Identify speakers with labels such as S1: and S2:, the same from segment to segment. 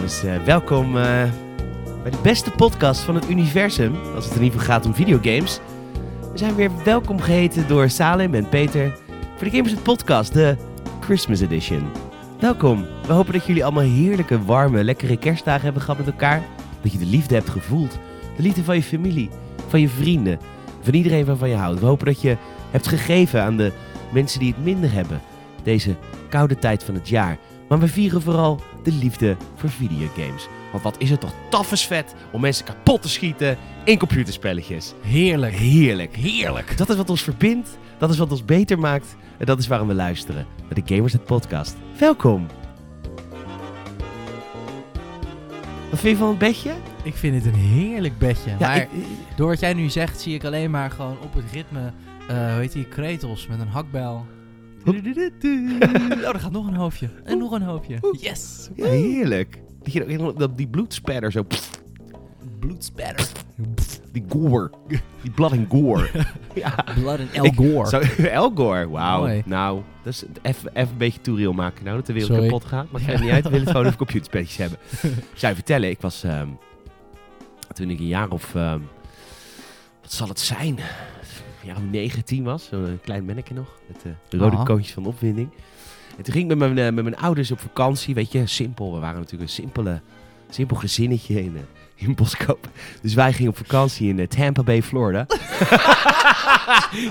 S1: Dus eh, welkom eh, bij de beste podcast van het universum, als het er niet van gaat om videogames. We zijn weer welkom geheten door Salim en Peter voor de Gamers het Podcast, de Christmas Edition. Welkom. We hopen dat jullie allemaal heerlijke, warme, lekkere kerstdagen hebben gehad met elkaar. Dat je de liefde hebt gevoeld. De liefde van je familie, van je vrienden, van iedereen waarvan je houdt. We hopen dat je hebt gegeven aan de mensen die het minder hebben deze koude tijd van het jaar. Maar we vieren vooral de liefde voor videogames. Want wat is het toch taffes vet om mensen kapot te schieten in computerspelletjes.
S2: Heerlijk.
S1: Heerlijk.
S2: Heerlijk.
S1: Dat is wat ons verbindt, dat is wat ons beter maakt en dat is waarom we luisteren naar de Gamers het Podcast. Welkom! Wat vind je van het bedje?
S2: Ik vind het een heerlijk bedje. maar
S1: ik-
S2: door wat jij nu zegt, zie ik alleen maar gewoon op het ritme, eh hoe heet die, kretels met een hakbel.
S1: Hop.
S2: Oh, er gaat nog een hoofdje. En nog een hoofdje. Yes.
S1: Ja, heerlijk. Dat je ook helemaal- dat die bloedspatter zo, pff,
S2: Bloedspatter.
S1: die gore, die blood and gore. ja.
S2: Blood en El
S1: Ik-
S2: Gore.
S1: Zo, El Gore, wauw.
S2: Mooi.
S1: Nou, dat is even, even een beetje toeriel maken. Nou, dat de wereld
S2: Sorry.
S1: kapot gaat. Maar het gaat niet uit. We willen het gewoon over computerspelletjes hebben. Ik zou je vertellen, ik was... ehm, toen ik een jaar of... ehm, wat zal het zijn? Een jaar of 19 was. Zo'n klein manneke nog. Met eh, de rode
S2: Ah.
S1: koontjes van de opwinding. En toen ging ik met mijn, eh, met mijn ouders op vakantie. Weet je, simpel. We waren natuurlijk een simpele, simpel gezinnetje in, eh, in Boskoop. Dus wij gingen op vakantie in eh, Tampa Bay, Florida.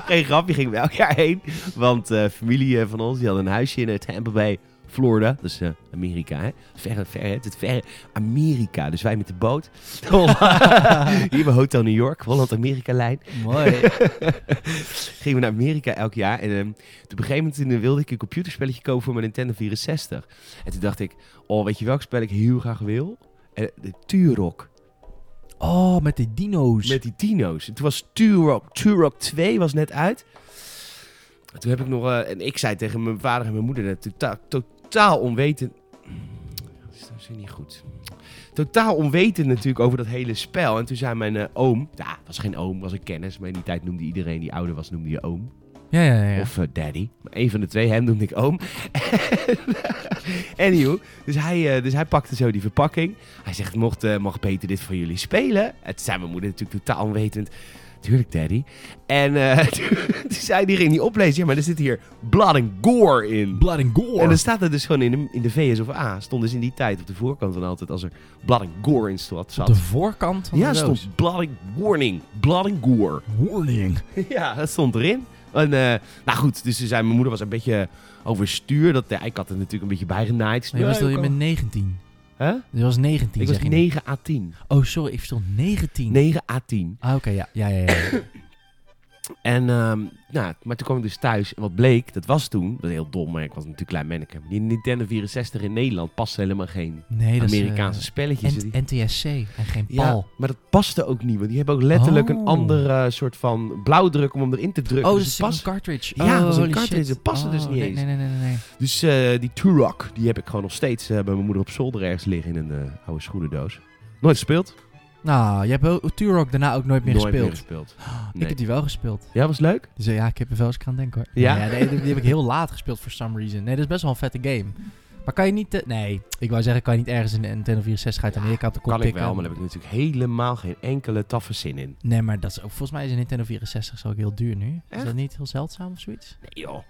S1: Geen grapje, gingen we elk jaar heen. Want eh, familie eh, van ons die had een huisje in eh, Tampa Bay, Florida. Dus eh, Amerika, hè? Verre, verre, het verre Amerika. Dus wij met de boot. Hier bij Hotel New York, Holland-Amerika-lijn.
S2: Mooi.
S1: Gingen we naar Amerika elk jaar. En ehm, toen op een gegeven moment eh, wilde ik een computerspelletje kopen voor mijn Nintendo 64. En toen dacht ik, oh, weet je welk spel ik heel graag wil? Eh, de Turok.
S2: Oh, met die dino's.
S1: Met die dino's. En toen was Turok. Turok 2 was net uit. En Toen heb ik nog... eh, en ik zei tegen mijn vader en mijn moeder... Dat totaal, totaal onwetend... Dat is- dat is niet goed. Totaal onwetend natuurlijk over dat hele spel. En toen zei mijn eh, oom... Ja, was geen oom, was een kennis. Maar in die tijd noemde iedereen die ouder was, noemde je oom.
S2: Ja, ja, ja.
S1: Of eh, daddy. Maar een van de twee, hem noemde ik oom. Anywho, dus hij, eh, dus hij pakte zo die verpakking. Hij zegt, mocht, eh, mag Peter dit voor jullie spelen? Het zei mijn moeder natuurlijk totaal onwetend. Tuurlijk, daddy. En eh, toen toen zei die ging die oplezen. Ja, maar er zit hier blood and gore in.
S2: Blood and Gore.
S1: En dan staat er dus gewoon in de, in de VS of A. Stond dus in die tijd op de voorkant van altijd als er blood and gore in zat.
S2: Op de voorkant van
S1: ja,
S2: de doos.
S1: stond blood and warning. Blood and gore.
S2: Warning.
S1: Ja, dat stond erin. En, eh, nou goed, dus ze zei, mijn moeder was een beetje overstuur. Dat, ja, ik had er natuurlijk een beetje bijgenaaid.
S2: Maar je was
S1: Nee,
S2: dat je
S1: ook
S2: met 19.
S1: al. Hè?
S2: Je was 19,
S1: Ik was
S2: zeg je nu.
S1: 9 à 10.
S2: Oh, sorry, ik stond 19.
S1: 9 à 10.
S2: Ah, oké, ja. Ja, ja, ja.
S1: En, ehm, nou, maar toen kwam ik dus thuis. En wat bleek, dat was toen, dat is heel dom, maar ik was natuurlijk klein manneke. Die Nintendo 64 in Nederland paste helemaal geen
S2: Nee, dat is... eh,
S1: Amerikaanse spelletjes. Die-
S2: N- NTSC en geen
S1: ja,
S2: pal.
S1: maar dat paste ook niet. Want die hebben ook letterlijk een
S2: Oh.
S1: andere soort van blauwdruk om hem erin te drukken.
S2: Oh,
S1: Dus
S2: dat is
S1: het
S2: een
S1: past-
S2: cartridge.
S1: Ja, dat
S2: oh,
S1: is een
S2: holy
S1: cartridge.
S2: shit.
S1: Dat past er dus
S2: Oh,
S1: niet
S2: nee,
S1: eens.
S2: Nee, nee, nee, nee. nee.
S1: Dus eh, die Turok, die heb ik gewoon nog steeds eh, bij mijn moeder op zolder ergens liggen in een eh, oude schoenendoos. Nooit gespeeld.
S2: Nou, je hebt wel- Turok daarna ook nooit meer
S1: Nooit
S2: gespeeld.
S1: meer gespeeld.
S2: Ik heb die wel gespeeld.
S1: Ja, was leuk?
S2: Dus eh, ja, ik heb er wel eens aan denken hoor.
S1: Ja?
S2: Nee, nee, die, die heb ik heel laat gespeeld for some reason. Nee, dat is best wel een vette game. Maar kan je niet... eh, nee, ik wou zeggen, kan je niet ergens een Nintendo 64 uit Amerika op de kop
S1: kan ik
S2: tikken?
S1: wel, maar daar heb ik natuurlijk helemaal geen enkele taffe zin in.
S2: Nee, maar dat is ook... Volgens mij is een Nintendo 64 zo ook heel duur nu.
S1: Echt?
S2: Is dat niet heel zeldzaam of zoiets?
S1: Nee joh.
S2: Zo'n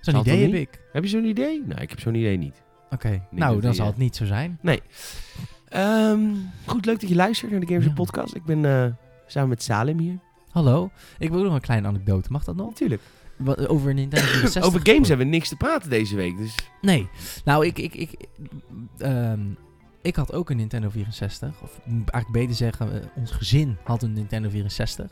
S1: Zal het
S2: idee heb
S1: toch
S2: ik.
S1: Heb je zo'n idee? Nou, ik heb zo'n idee niet.
S2: Oké, nou,
S1: dat
S2: dan
S1: die,
S2: zal
S1: eh,
S2: het niet zo zijn.
S1: Ehm, goed, leuk dat je luistert naar de Gamers
S2: Ja.
S1: Podcast. Ik ben eh, samen met Salim hier.
S2: Hallo, ik wil nog een kleine anekdote. Mag dat nog?
S1: Natuurlijk.
S2: Wat- Over Nintendo 64
S1: Over games
S2: gesproken.
S1: hebben we niks te praten deze week. Dus
S2: Nee. Nou, ik, ik, ik, ehm, ik had ook een Nintendo 64. Of moet ik eigenlijk beter zeggen, eh, ons gezin had een Nintendo 64.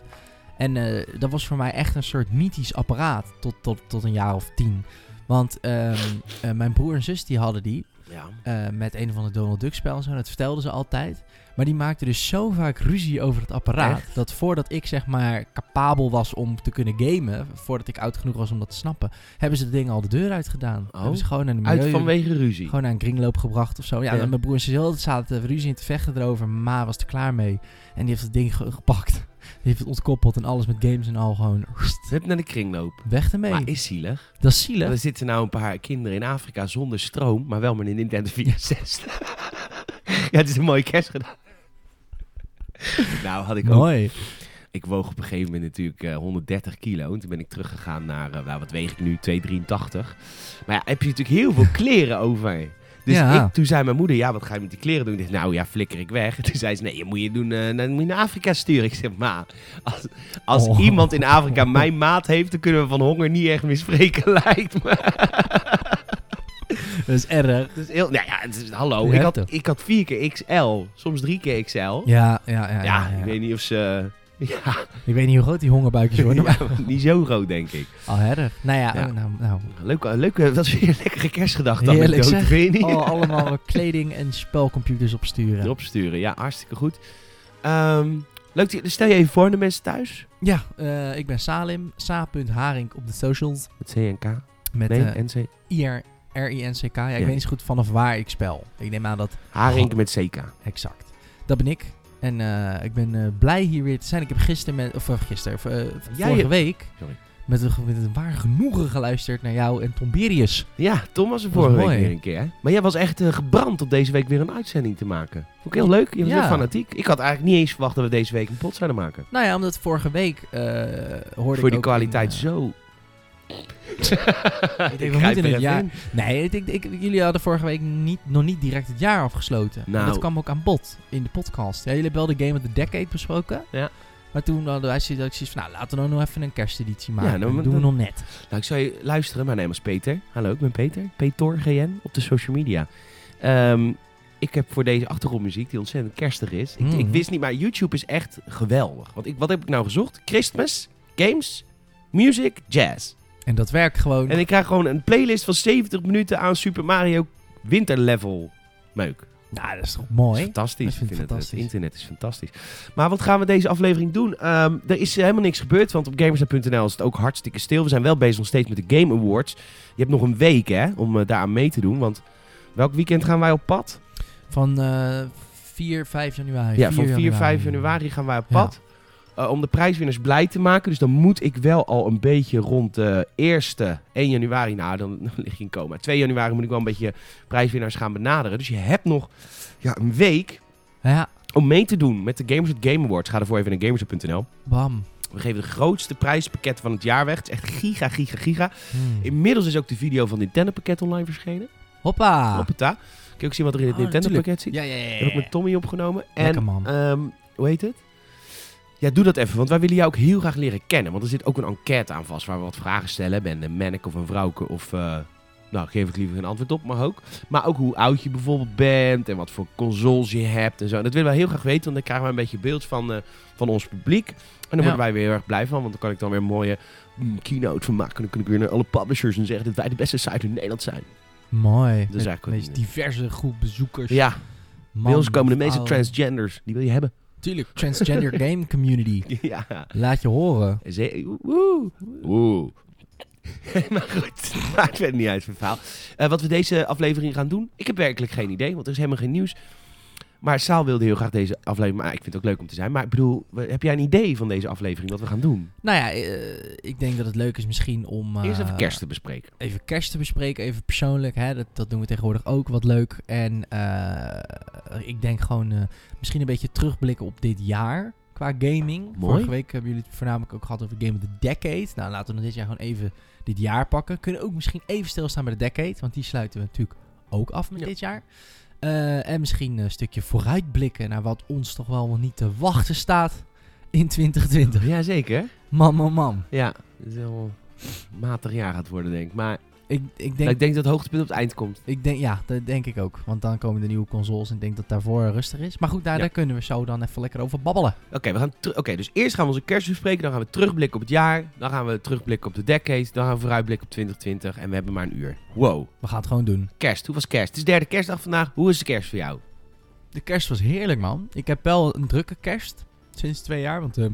S2: En eh, dat was voor mij echt een soort mythisch apparaat tot, tot, tot een jaar of tien. Want ehm, eh, mijn broer en zus die hadden die
S1: ja.
S2: eh, met een van de Donald Duck spel en zo. Dat vertelden ze altijd. Maar die maakten dus zo vaak ruzie over het apparaat. Dat voordat ik zeg maar capabel was om te kunnen gamen. Voordat ik oud genoeg was om dat te snappen. Hebben ze de dingen al de deur uit gedaan.
S1: Oh.
S2: Hebben ze gewoon naar de milieu,
S1: Uit vanwege ruzie.
S2: Gewoon naar een kringloop gebracht of zo. Ja,
S1: Ja.
S2: en mijn broer en zus heel- zaten ruzie in te vechten erover. maar Ma was er klaar mee. En die heeft het ding ge- gepakt. Die heeft het ontkoppeld en alles met games en al gewoon
S1: Hup naar de kringloop.
S2: weg ermee.
S1: Maar is zielig.
S2: dat is zielig.
S1: Er zitten nou een paar kinderen in Afrika zonder stroom, maar wel met een Nintendo 64. Ja, het is een mooie kerstcadeau. nou, had ik ook.
S2: Mooi.
S1: Ik woog op een gegeven moment natuurlijk eh, 130 kilo. En toen ben ik teruggegaan naar, eh, nou, wat weeg ik nu, 283. Maar ja, heb je natuurlijk heel veel kleren over. Dus
S2: Ja.
S1: ik, toen zei mijn moeder, ja, wat ga je met die kleren doen? Ik dacht, nou ja, flikker ik weg. En toen zei ze, nee, je moet je, doen, eh, dan moet je naar Afrika sturen. Ik zeg, ma, als, als
S2: Oh.
S1: iemand in Afrika mijn maat heeft... dan kunnen we van honger niet echt meer spreken, lijkt me.
S2: Dat is erg.
S1: Dus heel, nou ja, het is, hallo,
S2: Je
S1: ik
S2: hebt
S1: had,
S2: het.
S1: ik had vier keer XL, soms drie keer XL. Ja,
S2: Ja, ja, ja. ja, ja.
S1: ik weet niet of ze... Ja,
S2: Ik weet niet hoe groot die hongerbuikjes worden. maar-
S1: ja, niet zo groot, denk ik.
S2: Al erg. Nou ja,
S1: Ja.
S2: nou, nou.
S1: Leuk, eh, leuk eh, dat is weer een lekkere kerstgedachte.
S2: Heerlijk
S1: anekdote,
S2: zeg. Oh.
S1: Vind je niet?
S2: Al allemaal kleding en spelcomputers opsturen.
S1: Erop sturen, ja, hartstikke goed. Ehm, leuk, dat je- stel je even voor aan de mensen thuis.
S2: Ja, eh, ik ben Salim. Sa.Haring op de socials.
S1: Met CNK.
S2: Met
S1: Nee,
S2: eh,
S1: NC.
S2: IR, R-I-N-C-K. Ja, ik
S1: Ja.
S2: weet niet zo goed vanaf waar ik spel. Ik neem aan dat
S1: Haring met CK.
S2: exact. Dat ben ik. En eh, ik ben eh, blij hier weer te zijn. Ik heb gisteren, met, of eh, gisteren, eh,
S1: Jij-
S2: vorige week,
S1: Sorry.
S2: met een, met een waar genoegen geluisterd naar jou en Tomberius.
S1: Ja, Tom was er
S2: Dat was
S1: vorige week
S2: mooi.
S1: weer een keer. hè? Maar jij was echt eh, gebrand om deze week weer een uitzending te maken. Vond ik heel leuk. Je was
S2: Ja.
S1: heel fanatiek. Ik had eigenlijk niet eens verwacht dat we deze week een pot zouden maken.
S2: Nou ja, omdat vorige week eh, hoorde
S1: Voor
S2: ik
S1: die
S2: ook
S1: kwaliteit
S2: in, eh,
S1: zo.
S2: Ik
S1: Ik grijp
S2: denk, we moeten
S1: er
S2: het
S1: even
S2: jaar.
S1: in.
S2: Nee, ik, denk- ik, jullie hadden vorige week niet, nog niet direct het jaar afgesloten. En
S1: Nou.
S2: Dat kwam ook aan bod in de podcast. Ja, jullie hebben wel de Game of the Decade besproken.
S1: Ja.
S2: Maar toen hadden wij zoiets dat ik zoiets van, nou laten we nou nog even een kersteditie maken.
S1: nou, maar
S2: dat doen we
S1: dat-
S2: nog net.
S1: Nou, ik zou je luisteren. Mijn naam is Peter. Hallo, ik ben Peter. Petor GN op de social media. Ehm, ik heb voor deze achtergrondmuziek, die ontzettend kerstig is. Ik,
S2: Mhm.
S1: ik wist niet, maar YouTube is echt geweldig. Want ik, wat heb ik nou gezocht? Christmas, games, music, jazz.
S2: En dat werkt gewoon.
S1: En ik krijg gewoon een playlist van 70 minuten aan Super Mario winterlevel meuk. Dat
S2: Nou, dat is toch
S1: is
S2: mooi?
S1: fantastisch.
S2: Ik vind
S1: het,
S2: het
S1: het
S2: fantastisch.
S1: internet is fantastisch. Maar wat gaan we deze aflevering doen? Ehm, er is helemaal niks gebeurd, want op gamersnet.nl is het ook hartstikke stil. We zijn wel bezig nog steeds met de Game Awards. Je hebt nog een week hè, om daar daaraan mee te doen, want welk weekend gaan wij op pad?
S2: Van eh 4, 5 januari.
S1: ja, van 4, 5 januari gaan wij op pad. eh, om de prijswinners blij te maken. Dus dan moet ik wel al een beetje rond de eerste 1 januari. Nou, dan, dan lig je in coma. 2 januari moet ik wel een beetje prijswinnaars gaan benaderen. Dus je hebt nog ja, een week
S2: Ja,
S1: om mee te doen met de Gamers at Game Awards. Ga ervoor even naar gamers.nl.
S2: bam.
S1: We geven de grootste prijspakketten van het jaar weg. Het is echt giga, giga, giga.
S2: Hmm.
S1: Inmiddels is ook de video van Nintendo pakket online verschenen.
S2: Hoppa.
S1: Hoppata. Kun je ook zien wat er in het
S2: Oh,
S1: Nintendo
S2: natuurlijk.
S1: pakket zit?
S2: Ah. Ja, ja, ja. ja.
S1: Heb ik met Tommy opgenomen. En
S2: Lekker man.
S1: Ehm, hoe heet het? Ja, doe dat even, want wij willen jou ook heel graag leren kennen. Want er zit ook een enquête aan vast waar we wat vragen stellen hebben. En een manneke of een vrouwke of... eh, nou, geef ik liever geen antwoord op, maar ook. Maar ook hoe oud je bijvoorbeeld bent en wat voor consoles je hebt en zo. En dat willen wij heel graag weten, want dan krijgen we een beetje beeld van, eh, van ons publiek. En daar
S2: Ja.
S1: worden wij weer heel erg blij van, want dan kan ik dan weer een mooie mm, keynote van maken. Dan kan ik weer naar alle publishers en zeggen dat wij de beste site in Nederland zijn.
S2: mooi.
S1: is eigenlijk wat
S2: een
S1: ik
S2: beetje diverse groep bezoekers.
S1: Ja, bij
S2: Man,
S1: ons komen de meeste
S2: vrouw.
S1: transgenders. Die wil je hebben.
S2: Tuurlijk, transgender game community.
S1: ja.
S2: Laat je horen.
S1: Ze- Oeh. Oeh. maar goed, maakt verder niet uit van het verhaal. Eh, wat we deze aflevering gaan doen, ik heb werkelijk geen idee, want er is helemaal geen nieuws. Maar Saal wilde heel graag deze aflevering, maar ik vind het ook leuk om te zijn. Maar ik bedoel, we- heb jij een idee van deze aflevering, wat we gaan doen?
S2: Nou ja, eh, ik denk dat het leuk is misschien om... eh,
S1: Eerst even kerst te bespreken.
S2: Even kerst te bespreken, even persoonlijk. Hè? Dat, dat doen we tegenwoordig ook wat leuk. En eh, ik denk gewoon eh, misschien een beetje terugblikken op dit jaar qua gaming.
S1: Mooi.
S2: Vorige week hebben jullie het voornamelijk ook gehad over Game of the Decade. Nou, laten we dan dit jaar gewoon even dit jaar pakken. Kunnen ook misschien even stilstaan bij de Decade. Want die sluiten we natuurlijk ook af met
S1: Ja.
S2: dit jaar. Eh, en misschien een stukje vooruitblikken naar wat ons toch wel niet te wachten staat in 2020.
S1: Jazeker.
S2: Man, man, man.
S1: Ja, het is wel een matig jaar gaat worden, denk ik. Maar nou,
S2: Ik, ik
S1: ik
S2: denk
S1: denk dat het hoogtepunt op het eind komt.
S2: Ik denk, ja, dat denk ik ook. Want dan komen de nieuwe consoles en ik denk dat daarvoor rustig is. Maar goed, daar,
S1: Ja.
S2: daar kunnen we zo dan even lekker over babbelen.
S1: Oké, we gaan teru- Oké, dus eerst gaan we onze kerst bespreken. Dan gaan we terugblikken op het jaar. Dan gaan we terugblikken op de decade. Dan gaan we vooruitblikken op 2020. En we hebben maar een uur. Wow.
S2: We gaan het gewoon doen.
S1: Kerst. Hoe was kerst? Het is derde kerstdag vandaag. Hoe is de kerst voor jou?
S2: De kerst was heerlijk, man. Ik heb wel een drukke kerst. Sinds twee jaar, want eh,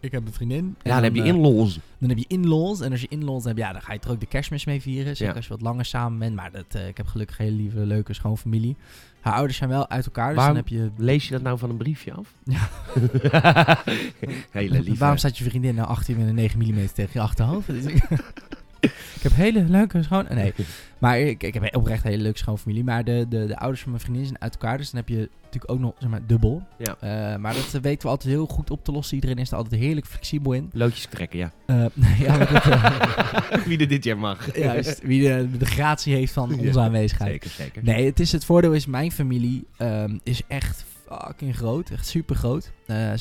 S2: ik heb een vriendin. En
S1: Ja, dan heb je
S2: eh,
S1: inlols.
S2: Dan heb je in-laws. En als je in-laws hebt, ja, dan ga je er ook de kerstmis mee vieren. Zeker
S1: Ja.
S2: als je wat langer samen bent. Maar dat, eh, ik heb gelukkig een hele lieve, leuke schoonfamilie. Haar ouders zijn wel uit elkaar, dus
S1: Waarom-
S2: dan heb je...
S1: Lees je dat nou van een briefje af?
S2: Ja.
S1: Hele lief.
S2: Waarom staat je vriendin nou 18 met een 9 mm tegen je achterhoofd? Dat is- Ik heb hele leuke schoon... Nee, maar ik, ik heb oprecht een hele leuke schoonfamilie. Maar de, de, de ouders van mijn vriendin zijn uit elkaar. Dus dan heb je natuurlijk ook nog, zeg maar, dubbel.
S1: Ja.
S2: Eh, maar dat eh, weten we altijd heel goed op te lossen. Iedereen is er altijd heerlijk flexibel in.
S1: Loodjes trekken, ja.
S2: Eh, nee, ja, maar dat, eh,
S1: Wie er dit jaar mag.
S2: juist, wie de, de gratie heeft van onze
S1: Ja,
S2: aanwezigheid.
S1: Zeker, zeker.
S2: Nee, het, is, het voordeel is, mijn familie ehm, is echt fucking groot. Echt super groot.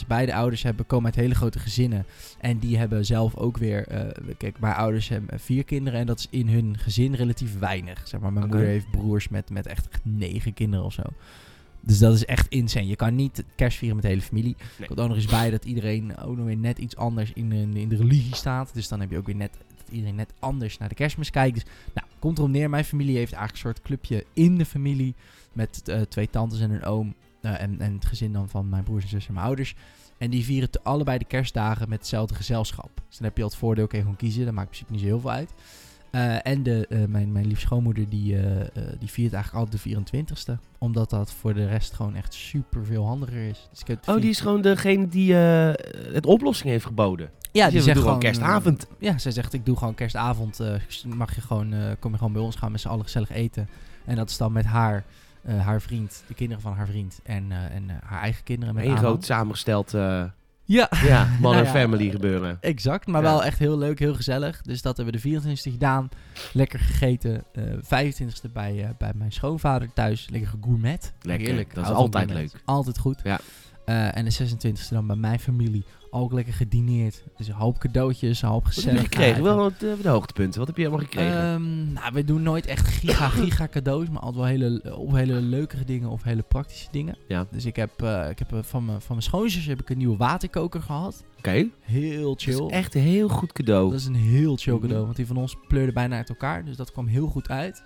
S2: beide ouders hebben, komen uit hele grote gezinnen. En die hebben zelf ook weer... eh, kijk, mijn ouders hebben vier kinderen. En dat is in hun gezin relatief weinig. Zeg maar, mijn
S1: Oké.
S2: moeder heeft broers met, met echt negen kinderen of zo. Dus dat is echt insane. Je kan niet kerst vieren met de hele familie.
S1: Nee.
S2: Komt ook nog eens bij dat iedereen ook nog weer net iets anders in, hun- in de religie staat. Dus dan heb je ook weer net dat iedereen net anders naar de kerstmis kijkt. Dus nou, komt erom neer. Mijn familie heeft eigenlijk een soort clubje in de familie. Met eh, twee tantes en een oom. eh, en, en het gezin dan van mijn broers en zussen en mijn ouders. En die vieren te- allebei de kerstdagen met hetzelfde gezelschap. Dus dan heb je al het voordeel, oké, gewoon kiezen. Dat maakt in principe niet zo heel veel uit. Eh, en de, eh, mijn, mijn lief schoonmoeder, die, eh, eh, die viert eigenlijk altijd de 24ste. Omdat dat voor de rest gewoon echt super veel handiger is. Dus ik heb
S1: Oh, die is gewoon degene die eh, het oplossing heeft geboden.
S2: ja,
S1: die zegt gewoon kerstavond.
S2: eh, Ja, zij zegt ik doe gewoon kerstavond. eh, mag je gewoon, eh, kom je gewoon bij ons gaan met z'n allen gezellig eten. En dat is dan met haar, eh, haar vriend, de kinderen van haar vriend en, eh, en eh, haar eigen kinderen. Met
S1: Een
S2: aanhang.
S1: groot samengesteld eh,
S2: Ja,
S1: ja, man
S2: Nou
S1: en
S2: ja.
S1: family gebeuren.
S2: exact. Maar
S1: Ja.
S2: wel echt heel leuk, heel gezellig. Dus dat hebben we de 24e gedaan. Lekker gegeten. eh 25e bij, eh, bij mijn schoonvader thuis. Lekker gourmet.
S1: Lekker,
S2: Heerlijk.
S1: dat is
S2: Hou van
S1: altijd
S2: gourmet.
S1: leuk.
S2: Altijd goed.
S1: Ja.
S2: Eh, en de 26e dan bij mijn familie. Ook lekker gedineerd. Dus een hoop cadeautjes, een hoop
S1: Wat
S2: gezellig.
S1: heb je gekregen? Wel wat, eh, de hoogtepunten. Wat heb je allemaal gekregen?
S2: Ehm, nou, we doen nooit echt giga, giga cadeaus, maar altijd wel hele, of hele leuke dingen of hele praktische dingen.
S1: Ja.
S2: Dus ik heb, eh, ik heb eh, van mijn, van mijn schoonzus heb ik een nieuwe waterkoker gehad.
S1: Oké.
S2: Heel
S1: Dat
S2: chill.
S1: is echt een heel goed cadeau.
S2: Dat is een heel chill
S1: Mhm.
S2: cadeau, want die van ons pleurde bijna uit elkaar, dus dat kwam heel goed uit.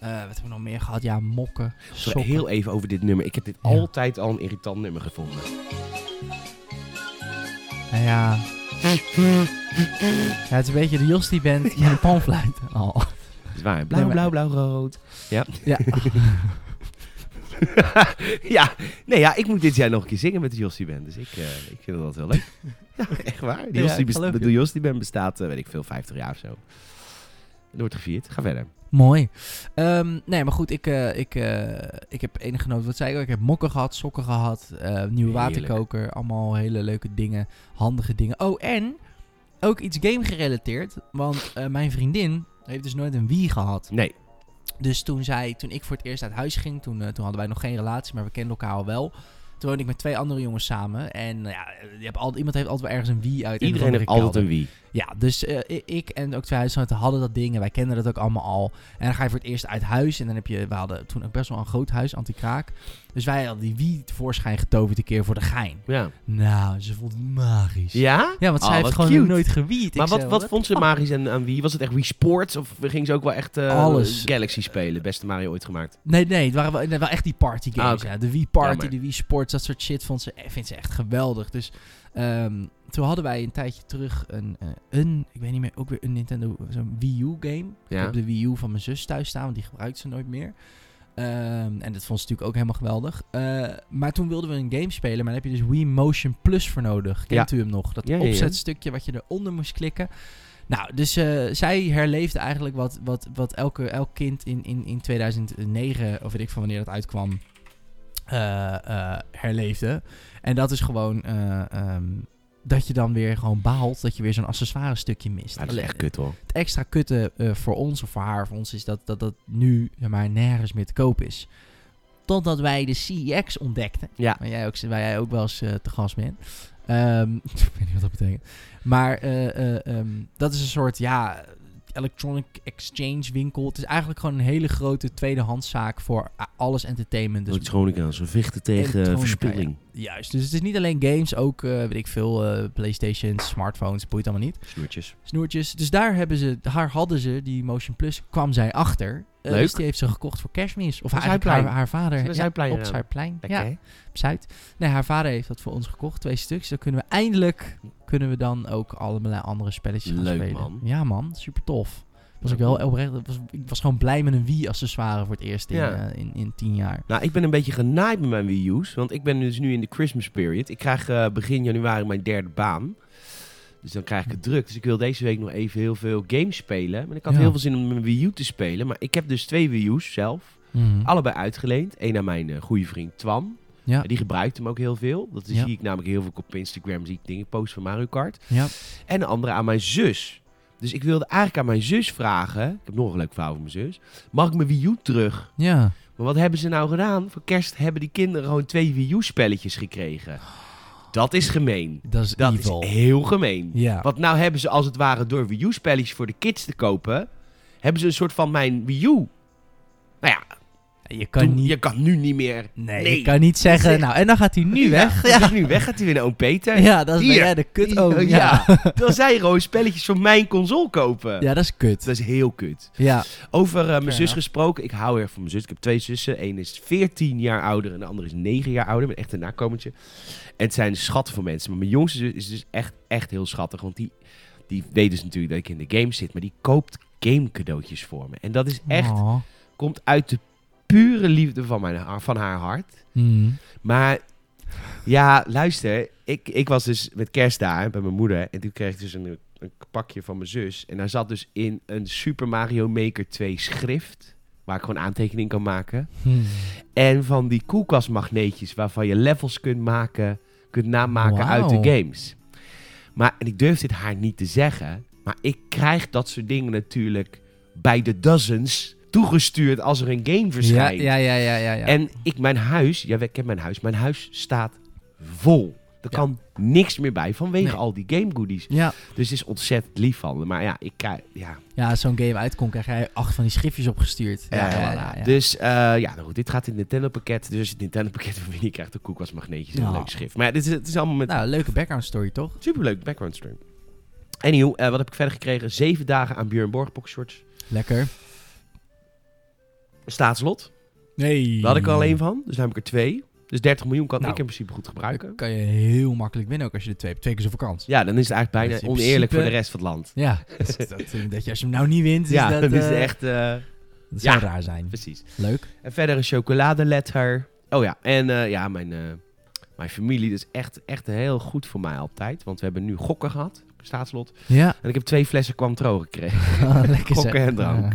S2: Eh, wat hebben we nog meer gehad? Ja, mokken,
S1: Zo,
S2: sokken.
S1: Heel even over dit nummer. Ik heb dit
S2: Ja.
S1: altijd al een irritant nummer gevonden.
S2: Nou ja. ja, het is een beetje de Jostie band met een panfluit. Oh.
S1: Dat is waar. Blauw,
S2: Nee, maar-
S1: blauw, blauw, rood. Ja.
S2: Ja.
S1: ja. Nee, ja, ik moet dit jaar nog een keer zingen met de Jossie Band. Dus ik, eh, ik vind dat wel leuk. ja, echt waar. De
S2: Ja,
S1: Jossie,
S2: ik
S1: best-
S2: geloof je.
S1: de Jossie Band bestaat, eh, weet ik veel, 50 jaar of zo. Er wordt gevierd. Ga verder.
S2: Mooi. Ehm, nee, maar goed, ik, eh, ik, eh, ik heb enige genoten. Wat zei ik al? Ik heb mokken gehad, sokken gehad, eh, nieuwe
S1: Heerlijk.
S2: waterkoker. Allemaal hele leuke dingen, handige dingen. Oh, en ook iets game gerelateerd. Want eh, mijn vriendin heeft dus nooit een Wii gehad.
S1: Nee.
S2: Dus toen, zij, toen ik voor het eerst uit huis ging, toen, eh, toen hadden wij nog geen relatie, maar we kenden elkaar al wel. Toen woonde ik met twee andere jongens samen. En eh, ja, je hebt altijd, iemand heeft altijd wel ergens een Wii uit. een of
S1: Iedereen
S2: andere
S1: heeft altijd
S2: kelder.
S1: een wie.
S2: Ja, dus eh, i- ik en ook twee huisgenoten hadden dat ding en wij kenden dat ook allemaal al. En dan ga je voor het eerst uit huis en dan heb je, we hadden toen ook best wel een groot huis, anti-kraak. Dus wij hadden die Wii tevoorschijn getoverd een keer voor de gein.
S1: Ja?
S2: Nou, ze vond het magisch.
S1: Ja?
S2: Ja, want
S1: Oh,
S2: zij heeft
S1: wat
S2: gewoon
S1: cute.
S2: nooit gewiet.
S1: Maar wat, wat vond ze magisch aan, aan wie? Was het echt Wii Sports? Of ging ze ook wel echt eh,
S2: Alles.
S1: Galaxy spelen? Beste Mario ooit gemaakt.
S2: Nee, nee, het waren wel, nee, wel echt die party games.
S1: Ah, oké.
S2: ja. De Wii Party,
S1: Jammer.
S2: de Wii Sports, dat soort shit vond ze, eh, vindt ze echt geweldig. Dus ehm, toen hadden wij een tijdje terug een, eh, een, ik weet niet meer, ook weer een Nintendo, zo'n Wii U game. Ik
S1: Ja.
S2: heb de Wii U van mijn zus thuis staan, want die gebruikt ze nooit meer. Ehm, en dat vond ze natuurlijk ook helemaal geweldig. Eh, maar toen wilden we een game spelen, maar daar heb je dus Wii Motion Plus voor nodig. Kent u hem nog? Dat
S1: Ja, ja, ja.
S2: opzetstukje wat je eronder moest klikken. Nou, dus eh, zij herleefde eigenlijk wat, wat, wat elke, elk kind in, in, in 2009, of weet ik van wanneer dat uitkwam, eh, eh, herleefde. En dat is gewoon eh, ehm, dat je dan weer gewoon baalt dat je weer zo'n accessoire stukje mist.
S1: Ja, dat is echt kut hoor.
S2: Het extra kutte eh, voor ons of voor haar, voor ons is dat dat, dat nu zeg maar nergens meer te koop is. Totdat wij de CEX ontdekten.
S1: Ja.
S2: Waar jij ook, waar jij ook wel eens eh, te gast bent. Ehm, ik weet niet wat dat betekent. Maar eh, eh, ehm, dat is een soort, ja, electronic exchange winkel. Het is eigenlijk gewoon een hele grote tweedehandszaak voor a- alles entertainment. Dus
S1: Elektronica, ze vechten tegen
S2: Elektronica,
S1: verspilling.
S2: juist. Dus het is niet alleen games, ook, eh, weet ik veel, eh, Playstations, smartphones, boeit allemaal niet
S1: Snoertjes.
S2: snoertjes. Dus daar hebben ze, haar hadden ze, die Motion Plus, kwam zij achter. Eh,
S1: Leuk.
S2: Dus die heeft ze gekocht voor kerstmis. Of
S1: Op
S2: eigenlijk haar,
S1: Zuidplein.
S2: haar vader.
S1: Zullen we Zuidplein
S2: ja, op
S1: gaan?
S2: Zuidplein.
S1: Lekker,
S2: ja,
S1: hè?
S2: op Zuid. Nee, haar vader heeft dat voor ons gekocht. Twee stuks. Dan kunnen we eindelijk, kunnen we dan ook allemaal andere spelletjes gaan
S1: Leuk,
S2: spelen.
S1: man.
S2: Ja man, super tof.
S1: Leuk,
S2: Was ik wel
S1: man.
S2: oprecht, was, ik was gewoon blij met een Wii-accessoire voor het eerst in,
S1: Ja.
S2: eh, in, in tien jaar.
S1: Nou, ik ben een beetje genaaid met mijn Wii U's. Want ik ben dus nu in de Christmas period. Ik krijg eh, begin januari mijn derde baan. Dus dan krijg ik het druk. Dus ik wil deze week nog even heel veel games spelen. Maar ik had
S2: Ja.
S1: heel veel zin om mijn Wii U te spelen. Maar ik heb dus twee Wii U's zelf.
S2: Mhm.
S1: Allebei uitgeleend. Eén aan mijn eh, goede vriend Twan.
S2: Ja.
S1: Eh, Die gebruikt hem ook heel veel. Dat
S2: Ja.
S1: zie ik namelijk heel veel op Instagram. Zie ik dingen posten van Mario Kart.
S2: Ja.
S1: En de andere aan mijn zus. Dus ik wilde eigenlijk aan mijn zus vragen. Ik heb nog een leuk verhaal voor mijn zus. Mag ik mijn Wii U terug?
S2: Ja.
S1: Maar wat hebben ze nou gedaan? Voor kerst hebben die kinderen gewoon twee Wii U-spelletjes gekregen. Dat is gemeen.
S2: Dat is
S1: Dat
S2: evil.
S1: is heel gemeen.
S2: ja.
S1: Want nou hebben ze als het ware door Wii U-spelletjes voor de kids te kopen... hebben ze een soort van mijn Wii U. Nou ja,
S2: Je kan
S1: toen-
S2: niet...
S1: je kan nu niet meer...
S2: Nee,
S1: Nee.
S2: je kan niet zeggen...
S1: echt-
S2: Nou, en dan gaat hij nu weg.
S1: Ja, nu weg gaat hij weer naar oom Peter.
S2: Ja, dat is ben
S1: Hier. Oh,
S2: jij de kut ook.
S1: Ja,
S2: Ja.
S1: Terwijl zij gewoon spelletjes voor mijn console kopen.
S2: ja, dat is kut.
S1: Dat is heel kut.
S2: Ja.
S1: Over eh, mijn
S2: Fair
S1: zus
S2: enough.
S1: gesproken. Ik hou erg van mijn zus. Ik heb twee zussen. Eén is 14 jaar ouder en de andere is 9 jaar ouder. Ik ben echt een nakomertje. En het zijn schatten van mensen. Maar mijn jongste zus is dus echt, echt heel schattig. Want die, die weet dus natuurlijk dat ik in de game zit. Maar die koopt game cadeautjes voor me. En dat is echt,
S2: Oh.
S1: komt uit de pure liefde van, mijn, haar- van haar hart.
S2: Mm.
S1: Maar ja, luister. Ik, ik was dus met kerst daar bij mijn moeder. En toen kreeg ik dus een, een pakje van mijn zus. En daar zat dus in een Super Mario Maker 2 schrift. Waar ik gewoon aantekening kan maken.
S2: Mm.
S1: En van die koelkastmagneetjes waarvan je levels kunt maken. Kunt namaken uit
S2: Wauw.
S1: de games. Maar, en ik durf dit haar niet te zeggen. Maar ik krijg dat soort dingen natuurlijk bij de dozens toegestuurd als er een game
S2: Ja,
S1: verschijnt.
S2: ja, ja, ja, ja. ja.
S1: En ik, mijn huis, ja, ik ken mijn huis, mijn huis staat vol. Er
S2: Ja.
S1: kan niks meer bij vanwege
S2: Nee.
S1: al die game goodies.
S2: ja.
S1: Dus het is ontzettend lief van me. Maar ja, ik krijg. Ja,
S2: ja als zo'n game uitkomt, krijg jij acht van die schriftjes opgestuurd.
S1: eh, Dus eh, ja, nou goed, dit gaat in het Nintendo pakket. Dus als je het Nintendo pakket wil winnen, je krijgt ook koelkastmagneetjes en een
S2: Ja.
S1: leuk schrift. Maar ja, dit is, het is allemaal met
S2: Nou, leuke background story, toch?
S1: superleuk background stream. Anywho, eh, wat heb ik verder gekregen? Zeven dagen aan Björn Borg boxshorts.
S2: Lekker.
S1: Staatslot.
S2: Nee.
S1: Daar had ik er al één van. Dus daar heb ik er twee. Dus 30 miljoen kan
S2: Nou.
S1: ik in principe goed gebruiken.
S2: Kan je heel makkelijk winnen ook als je de twee hebt. Twee keer zoveel kans.
S1: Ja, dan is het eigenlijk
S2: Dus in
S1: bijna oneerlijk voor de rest
S2: principe-
S1: van het land.
S2: Ja. Dus dat, dat je als je hem nou niet wint, is
S1: ja,
S2: dat,
S1: dat is
S2: eh,
S1: echt... eh,
S2: dat zou
S1: ja.
S2: raar zijn.
S1: Precies.
S2: Leuk.
S1: En verder een chocoladeletter. Oh ja, en eh, ja, mijn, eh, mijn familie is echt, echt heel goed voor mij altijd. Want we hebben nu gokken gehad, staatslot.
S2: Ja.
S1: En ik heb twee flessen Quantro gekregen.
S2: Lekker zeg.
S1: Gokken en drank.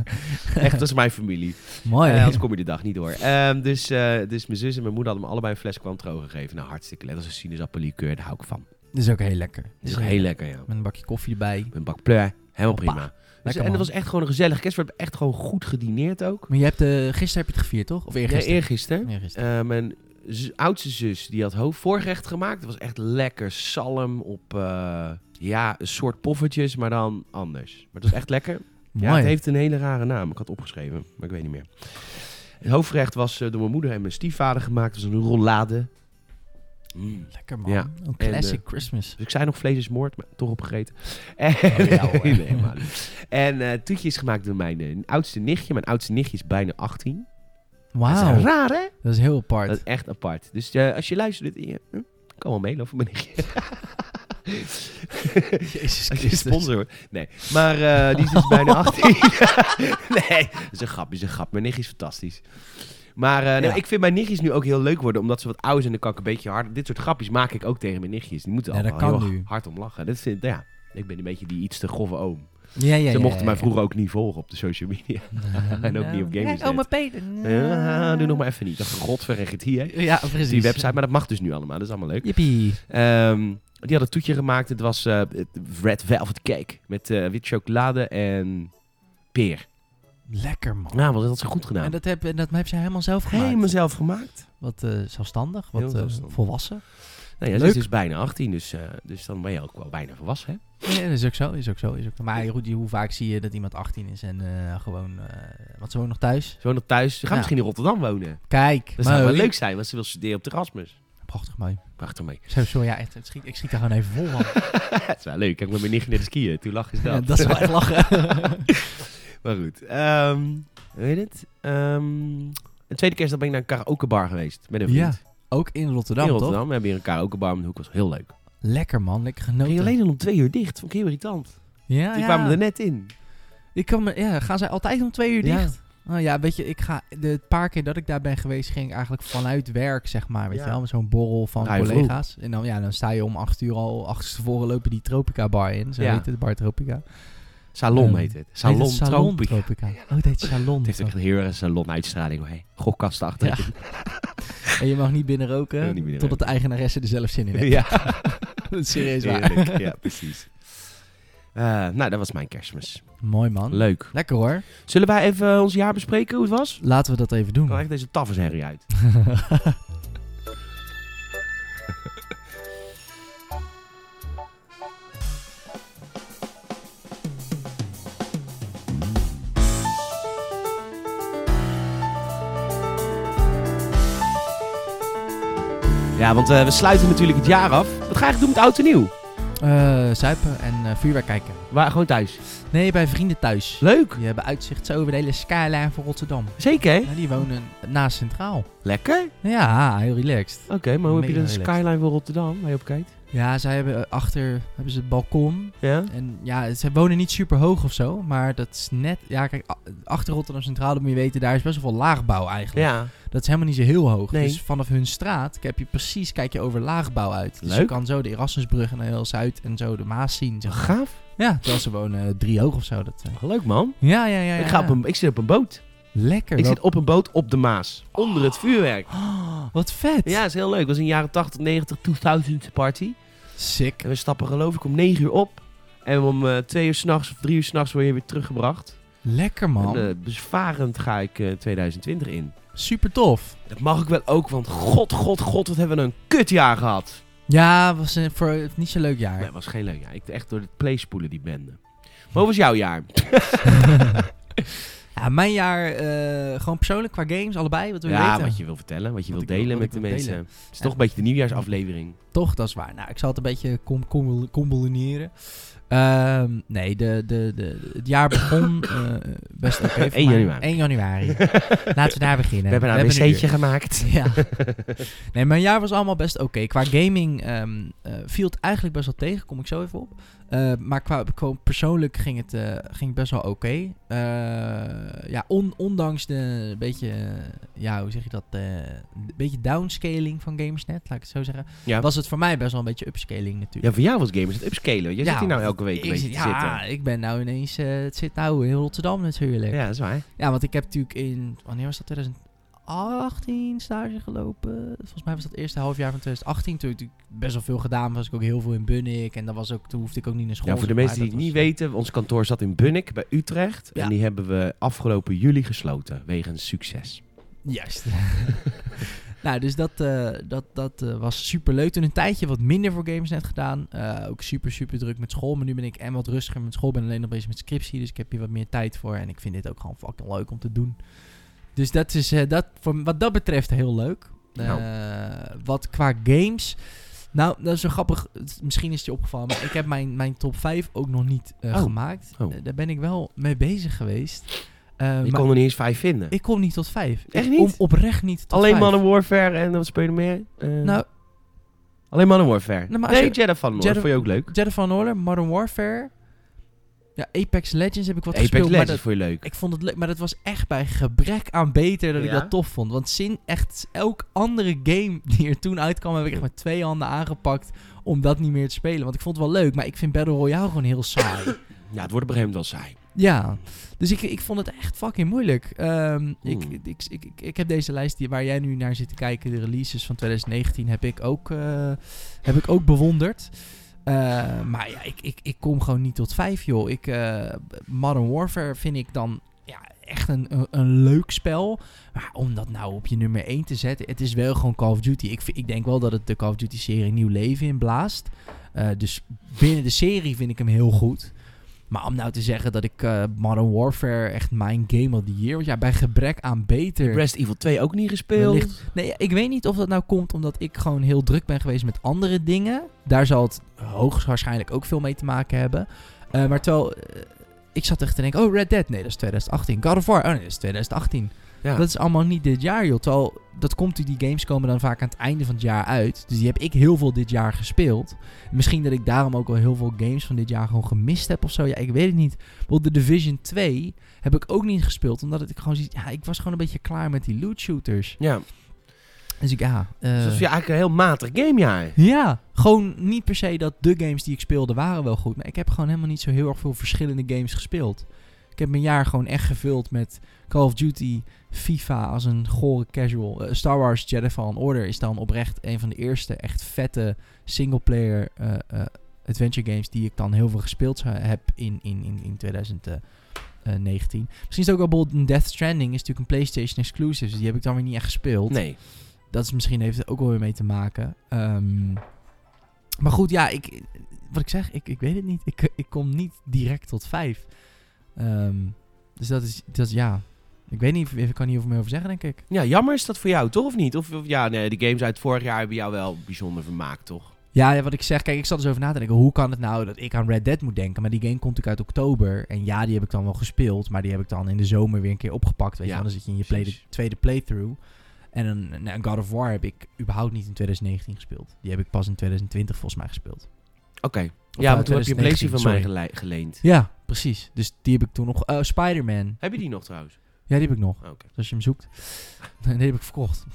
S2: Ja.
S1: Echt, dat is mijn familie.
S2: Mooi.
S1: Eh, anders kom je de dag niet door. Ehm, dus, eh, dus mijn zus en mijn moeder hadden me allebei een fles Quantro gegeven. Nou, hartstikke lekker. Dat is een sinaasappellikeur, daar hou ik van.
S2: Dat is ook heel lekker.
S1: Dat is ook heel lekker, ja.
S2: Met een bakje koffie erbij.
S1: Een bak pleur, helemaal
S2: Hoppa.
S1: prima. Dus,
S2: Lekker,
S1: en dat
S2: man.
S1: was echt gewoon een gezellig kerst. We hebben echt gewoon goed gedineerd ook.
S2: Maar je hebt, eh, gisteren heb je het gevierd, toch? Of eergisteren?
S1: Ja, eergisteren.
S2: Eergisteren.
S1: Eh, mijn z- oudste zus die had hoofdvoorgerecht gemaakt. Dat was echt lekker salm op eh, ja, een soort poffertjes, maar dan anders. Maar het was echt lekker.
S2: Mooi.
S1: Eh, Ja, het heeft een hele rare naam. Ik had opgeschreven, maar ik weet niet meer. Het hoofdgerecht was eh, door mijn moeder en mijn stiefvader gemaakt. Het was een rollade. Mm.
S2: Lekker, man.
S1: Ja.
S2: Een classic
S1: En,
S2: Christmas.
S1: Dus ik zei nog vlees is moord, maar toch opgegeten.
S2: Oh, ja, hoor.
S1: nee, helemaal niet. En eh toetje is gemaakt door mijn eh, oudste nichtje. Mijn oudste nichtje is bijna 18. Dat is
S2: Wauw.
S1: raar, hè?
S2: Dat is heel apart.
S1: Dat is echt apart. Dus eh, als je luistert, dit, je, hm, kan wel meelopen, ben ik.
S2: Jezus
S1: Als je sponsor hoor. Nee, maar eh, die is dus bijna 18. nee, dat is een grap, is een grap. Mijn nichtje is fantastisch. Maar eh, nou,
S2: Ja.
S1: ik vind mijn nichtjes nu ook heel leuk worden, omdat ze wat ouder zijn. Dan kan ik een beetje harder. Dit soort grapjes maak ik ook tegen mijn nichtjes. Die moeten
S2: Ja, dat
S1: allemaal heel
S2: kan nu.
S1: hard om lachen. Dat vind, ja, ik ben een beetje die iets te grove oom.
S2: Ja, ja,
S1: ze
S2: ja,
S1: mochten
S2: ja,
S1: mij
S2: ja.
S1: vroeger ook niet volgen op de social media. en ook niet op Gamersnet.
S2: Kijk, oma Peter.
S1: Ja, doe nog maar even niet. Dat godverregent hier, hè.
S2: Ja, precies.
S1: Die website, maar dat mag dus nu allemaal. Dat is allemaal leuk.
S2: Jippie.
S1: Ehm, die had een toetje gemaakt. Het was eh, Red Velvet Cake. Met eh wit chocolade en peer.
S2: Lekker, man.
S1: Nou, wat had ze goed gedaan.
S2: En dat heb, en dat heb ze helemaal zelf gemaakt.
S1: Helemaal zelf gemaakt.
S2: Wat eh, zelfstandig, wat
S1: Heel
S2: eh,
S1: zelfstandig.
S2: volwassen.
S1: Nou ja, ze
S2: Leuk.
S1: is dus bijna 18, dus, eh, dus dan ben je ook wel bijna volwassen, hè?
S2: Ja, dat is ook zo, is ook zo. Is ook zo. Maar goed, hoe vaak zie je dat iemand 18 is en eh, gewoon... eh want ze woont nog thuis.
S1: Ze woont nog thuis. Ze gaat
S2: Ja.
S1: misschien in Rotterdam wonen.
S2: Kijk.
S1: Dat zou wel
S2: mooi.
S1: leuk zijn, want ze wil studeren op de Erasmus.
S2: Prachtig mooi.
S1: Prachtig mee.
S2: Zo, zo, ja, echt, het schiet, ik schiet daar gewoon even vol van.
S1: Dat is wel leuk. Kijk, met mijn nichtje net skiën. Toen lach is dat.
S2: Ja, dat is wel echt lachen.
S1: Maar goed. Ehm weet het? Ehm de tweede kerstdag ben ik naar een karaokebar geweest. Met een
S2: Ja,
S1: vriend.
S2: ook in Rotterdam,
S1: in Rotterdam. We hebben hier een karaokebar om de hoek. was heel leuk.
S2: toch? Lekker, man. Lekker genoten.
S1: Ging alleen al om twee uur dicht. Vond ik heel irritant.
S2: Nou Ja,
S1: Die
S2: ja.
S1: kwamen er net in.
S2: Ik kan me, ja, gaan zij altijd om twee uur dicht? Nou ja, weet je, ik ga de paar keer dat ik daar ben geweest, ging ik eigenlijk vanuit werk, zeg maar. Weet
S1: Ja.
S2: je wel, met zo'n borrel van
S1: Ga je
S2: collega's. En dan, ja, dan sta je om acht uur al, acht uur tevoren lopen die Tropica bar in. Zo
S1: Ja.
S2: heet het, bar Tropica.
S1: Salon
S2: Ehm,
S1: heet het.
S2: Heet
S1: Salon,
S2: het Salon
S1: Tropica.
S2: Tropica. Oh, het heet Salon.
S1: Het heeft echt een heel erg salonuitstraling. hoor. Hey, Gokkast achter.
S2: Ja. En je mag niet binnen
S1: Ja,
S2: roken,
S1: niet binnen
S2: totdat de eigenaresse er zelf zin in heeft.
S1: ja,
S2: Dat is serieus waar.
S1: heerlijk. Ja, precies. Eh, nou, dat was mijn kerstmis.
S2: Mooi man.
S1: Leuk.
S2: Lekker hoor.
S1: Zullen wij even eh, ons jaar bespreken, hoe het was?
S2: Laten we dat even doen.
S1: Dan krijg deze tafersherrie uit. Ja, want eh, we sluiten natuurlijk het jaar af. Wat ga ik doen met oud en nieuw?
S2: Eh, zuipen en eh, vuurwerk kijken.
S1: Waar, gewoon thuis.
S2: Nee, bij vrienden thuis.
S1: Leuk.
S2: Die hebben uitzicht zo over de hele skyline van Rotterdam.
S1: Zeker, hè?
S2: Nou, die wonen naast Centraal.
S1: Lekker.
S2: Ja, heel relaxed.
S1: Oké, maar hoe heb je
S2: Mega
S1: de
S2: relaxed.
S1: skyline van Rotterdam waar je op kijkt?
S2: Ja, zij hebben eh, achter hebben ze het balkon.
S1: Ja?
S2: En ja, ze wonen niet super hoog of zo. Maar dat is net. Ja, kijk, a- achter Rotterdam Centraal, dat moet je weten, daar is best wel veel laagbouw eigenlijk.
S1: Ja.
S2: Dat is helemaal niet zo heel hoog.
S1: Nee.
S2: Dus vanaf hun straat heb je precies, kijk je over laagbouw uit. Dus je
S1: Leuk.
S2: kan zo de Erasmusbrug en heel Zuid en zo de Maas zien. zeg maar.
S1: Gaaf.
S2: Ja, terwijl ze wonen eh, drie hoog of zo. Dat, eh.
S1: Leuk, man.
S2: Ja, ja, ja, ja.
S1: Ik, ga
S2: ja.
S1: op een, ik zit op een boot.
S2: Lekker.
S1: Ik
S2: wel-
S1: zit op een boot op de Maas. Onder het vuurwerk.
S2: Oh, wat vet.
S1: Ja, is heel leuk. Het was een jaren 80, 90, 2000 party.
S2: Sick.
S1: En we stappen geloof ik om 9 uur op. En om eh, twee uur s'nachts of drie uur s'nachts word je weer teruggebracht.
S2: Lekker man.
S1: En eh, bezwarend ga ik eh, 2020 in.
S2: Super tof.
S1: Dat mag ik wel ook, want god, god, god, wat hebben we een kutjaar gehad.
S2: Ja, was een, voor het niet zo'n leuk jaar.
S1: Nee, het was geen leuk jaar. Ik echt door het playspoelen die bende. Maar hoe was jouw jaar?
S2: ja, mijn jaar, eh, gewoon persoonlijk qua games, allebei, wat we
S1: ja,
S2: weten.
S1: wat je wil vertellen, wat je wil
S2: Wat ik wil-
S1: delen
S2: wat
S1: met
S2: ik
S1: de
S2: wil
S1: mensen.
S2: delen.
S1: Het is toch een beetje de nieuwjaarsaflevering.
S2: Toch, dat is waar. Nou, ik zal het een beetje com- com- combineren. Ehm, nee, de, de, de, het jaar begon eh, best oké. voor
S1: 1
S2: mij.
S1: januari.
S2: 1 januari. Laten we daar beginnen.
S1: We hebben daar
S2: We
S1: een
S2: een
S1: wc'tje
S2: uur.
S1: gemaakt.
S2: Ja. Nee, mijn jaar was allemaal best oké. Qua gaming ehm, eh, viel het eigenlijk best wel tegen, kom ik zo even op. Eh, maar qua, qua persoonlijk ging het, eh, ging het best wel oké. Eh, ja, on- ondanks de beetje, eh, ja, hoe zeg je dat, eh, een beetje downscaling van Gamesnet, laat ik het zo zeggen.
S1: Ja.
S2: Was het voor mij best wel een beetje upscaling natuurlijk.
S1: Ja, voor jou was gamers het upscalen. want Jij
S2: Ja,
S1: zit hier nou elke week een
S2: ik
S1: beetje
S2: zit,
S1: te
S2: ja,
S1: zitten.
S2: ik ben nou ineens, eh, het zit nou in Rotterdam natuurlijk.
S1: Ja, dat is waar.
S2: Ja, want ik heb natuurlijk in. Wanneer was dat? 2018 stage gelopen. Volgens mij was dat het eerste halfjaar van 2018. Toen heb ik natuurlijk best wel veel gedaan. Was ik ook heel veel in Bunnik. En dat was ook, toen hoefde ik ook niet naar school.
S1: Ja, Nou, voor de
S2: zeg maar.
S1: mensen die het
S2: Dat
S1: niet
S2: was-
S1: weten, ons kantoor zat in Bunnik bij Utrecht.
S2: Ja.
S1: En die hebben we afgelopen juli gesloten, wegens succes.
S2: Juist. nou, dus dat, eh, dat, dat eh, was super leuk. Toen een tijdje wat minder voor games net gedaan. Eh, ook super, super druk met school. Maar nu ben ik en wat rustiger met school. Ik ben alleen nog bezig met scriptie. Dus ik heb hier wat meer tijd voor. En ik vind dit ook gewoon fucking leuk om te doen. Dus dat is eh, dat, voor, wat dat betreft heel leuk. Eh,
S1: Nou.
S2: wat qua games. Nou, dat is zo grappig. Het- Misschien is het je opgevallen. Maar ik heb mijn, mijn top 5 ook nog niet eh,
S1: Oh.
S2: gemaakt.
S1: Oh.
S2: Eh, daar ben ik wel mee bezig geweest. Eh,
S1: Ik
S2: maar-
S1: kon er niet eens vijf vinden.
S2: ik kom niet tot vijf.
S1: Echt
S2: Ik
S1: niet?
S2: kom oprecht niet tot
S1: Alleen
S2: vijf.
S1: Modern Warfare en wat speel je er meer? Eh,
S2: Nou,
S1: alleen Modern Warfare.
S2: Nou, maar als
S1: nee,
S2: je-
S1: Jedi van Noord
S2: Jedi-
S1: vond je ook leuk.
S2: Jedi Fallen Order, Modern Warfare. Ja, Apex Legends heb ik wat
S1: Apex
S2: gespeeld. maar
S1: Legends
S2: dat-
S1: vond je leuk.
S2: ik vond het leuk, maar dat was echt bij gebrek aan beter dat ik
S1: Ja?
S2: dat tof vond. Want zin echt elk andere game die er toen uitkwam, heb ik echt met twee handen aangepakt om dat niet meer te spelen. Want ik vond het wel leuk, maar ik vind Battle Royale gewoon heel saai.
S1: Ja, het wordt op een gegeven moment wel saai.
S2: Ja, dus ik, ik vond het echt fucking moeilijk. Ehm, ik,
S1: Hmm.
S2: ik, ik, ik, ik heb deze lijst die, waar jij nu naar zit te kijken, de releases van 2019, heb ik ook, eh, heb ik ook bewonderd. Eh, maar ja, ik, ik, ik kom gewoon niet tot vijf, joh. Ik, eh, Modern Warfare vind ik dan ja, echt een, een, een leuk spel. Maar om dat nou op je nummer 1 te zetten, het is wel gewoon Call of Duty. Ik, vind- ik denk wel dat het de Call of Duty-serie nieuw leven inblaast. Eh, dus binnen de serie vind ik hem heel goed. Maar om nou te zeggen dat ik eh, Modern Warfare echt mijn game of the year was. Ja, bij gebrek aan beter.
S1: Resident Evil 2 ook niet gespeeld.
S2: Wellicht- Nee, ik weet niet of dat nou komt omdat ik gewoon heel druk ben geweest met andere dingen. Daar zal het hoogstwaarschijnlijk ook veel mee te maken hebben. Eh, maar terwijl eh, ik zat echt te denken, oh Red Dead, nee dat is 2018. God of War, oh nee dat is 2018.
S1: Ja.
S2: Dat is allemaal niet dit jaar joh. Terwijl, dat komt, die games komen dan vaak aan het einde van het jaar uit. Dus die heb ik heel veel dit jaar gespeeld. Misschien dat ik daarom ook al heel veel games van dit jaar gewoon gemist heb of zo. Ja, ik weet het niet. Bijvoorbeeld de Division 2 heb ik ook niet gespeeld. Omdat het- ik gewoon zie, ja, ik was gewoon een beetje klaar met die loot shooters.
S1: ja.
S2: Dus ik, ja... eh,
S1: Dus dat is ja, eigenlijk een heel matig gamejaar.
S2: ja, gewoon niet per se dat de games die ik speelde waren wel goed. Maar ik heb gewoon helemaal niet zo heel erg veel verschillende games gespeeld. Ik heb mijn jaar gewoon echt gevuld met Call of Duty, FIFA als een gore casual. Eh, Star Wars Jedi Fallen Order is dan oprecht een van de eerste echt vette singleplayer eh eh, adventure games die ik dan heel veel gespeeld zou- heb in, in, in, in 2019. Misschien is het ook wel bijvoorbeeld een Death Stranding, is natuurlijk een PlayStation exclusive, dus die heb ik dan weer niet echt gespeeld
S1: Nee.
S2: dat is misschien heeft het ook wel weer mee te maken. Ehm, maar goed, ja, ik, wat ik zeg, ik, ik weet het niet. Ik, eh, ik kom niet direct tot vijf. Ehm, dus dat is, dat is, ja, ik weet niet, ik kan niet over meer over zeggen, denk ik.
S1: Ja, jammer is dat voor jou, toch? Of niet? Of, of ja, nee, de games uit vorig jaar hebben jou wel bijzonder vermaakt, toch?
S2: Ja, ja, wat ik zeg, kijk, ik zat dus over na te denken. Hoe kan het nou dat ik aan Red Dead moet denken? Maar die game komt natuurlijk uit oktober. En ja, die heb ik dan wel gespeeld. Maar die heb ik dan in de zomer weer een keer opgepakt. Weet
S1: Ja,
S2: je, wel. dan zit je in je play-
S1: precies.
S2: tweede playthrough. En een, nou, God of War heb ik überhaupt niet in 2019 gespeeld. Die heb ik pas in 2020 volgens mij gespeeld.
S1: Oké.
S2: Of,
S1: Ja,
S2: eh,
S1: want toen heb je een
S2: 2019,
S1: PlayStation van mij gele- geleend.
S2: Ja, precies. Dus die heb ik toen nog. eh Spider-Man.
S1: Heb je die nog trouwens?
S2: Ja, die heb ik nog.
S1: Oh, Oké.
S2: Dus als je hem zoekt. Nee, die heb ik verkocht.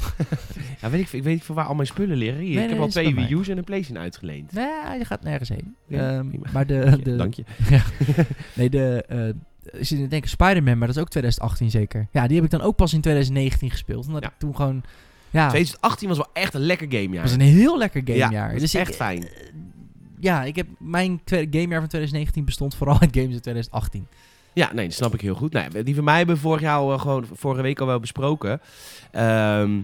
S1: Ja, weet ik, ik weet niet van waar al mijn spullen liggen. Hier,
S2: Nee,
S1: ik
S2: nee,
S1: heb al
S2: is bij
S1: twee
S2: mij.
S1: Wii U's en een PlayStation uitgeleend.
S2: Nee, je gaat nergens heen.
S1: Ja,
S2: Ehm,
S1: prima.
S2: maar de,
S1: Ja,
S2: de,
S1: Dank je.
S2: Nee, de. eh, ik zit te denken, Spider-Man, maar dat is ook 2018 zeker. Ja, die heb ik dan ook pas in 2019 gespeeld. Omdat
S1: Ja.
S2: ik toen gewoon. Ja, het
S1: 2018 was wel echt een lekker gamejaar.
S2: was een heel lekker gamejaar.
S1: Ja, dat is
S2: dus
S1: echt
S2: ik,
S1: fijn.
S2: ja, ik heb mijn twe- gamejaar van 2019 bestond vooral uit games in 2018.
S1: Ja, nee, dat snap ik heel goed. Nee, die van mij hebben we vorig jaar al, eh, gewoon, vorige week al wel besproken. Ehm,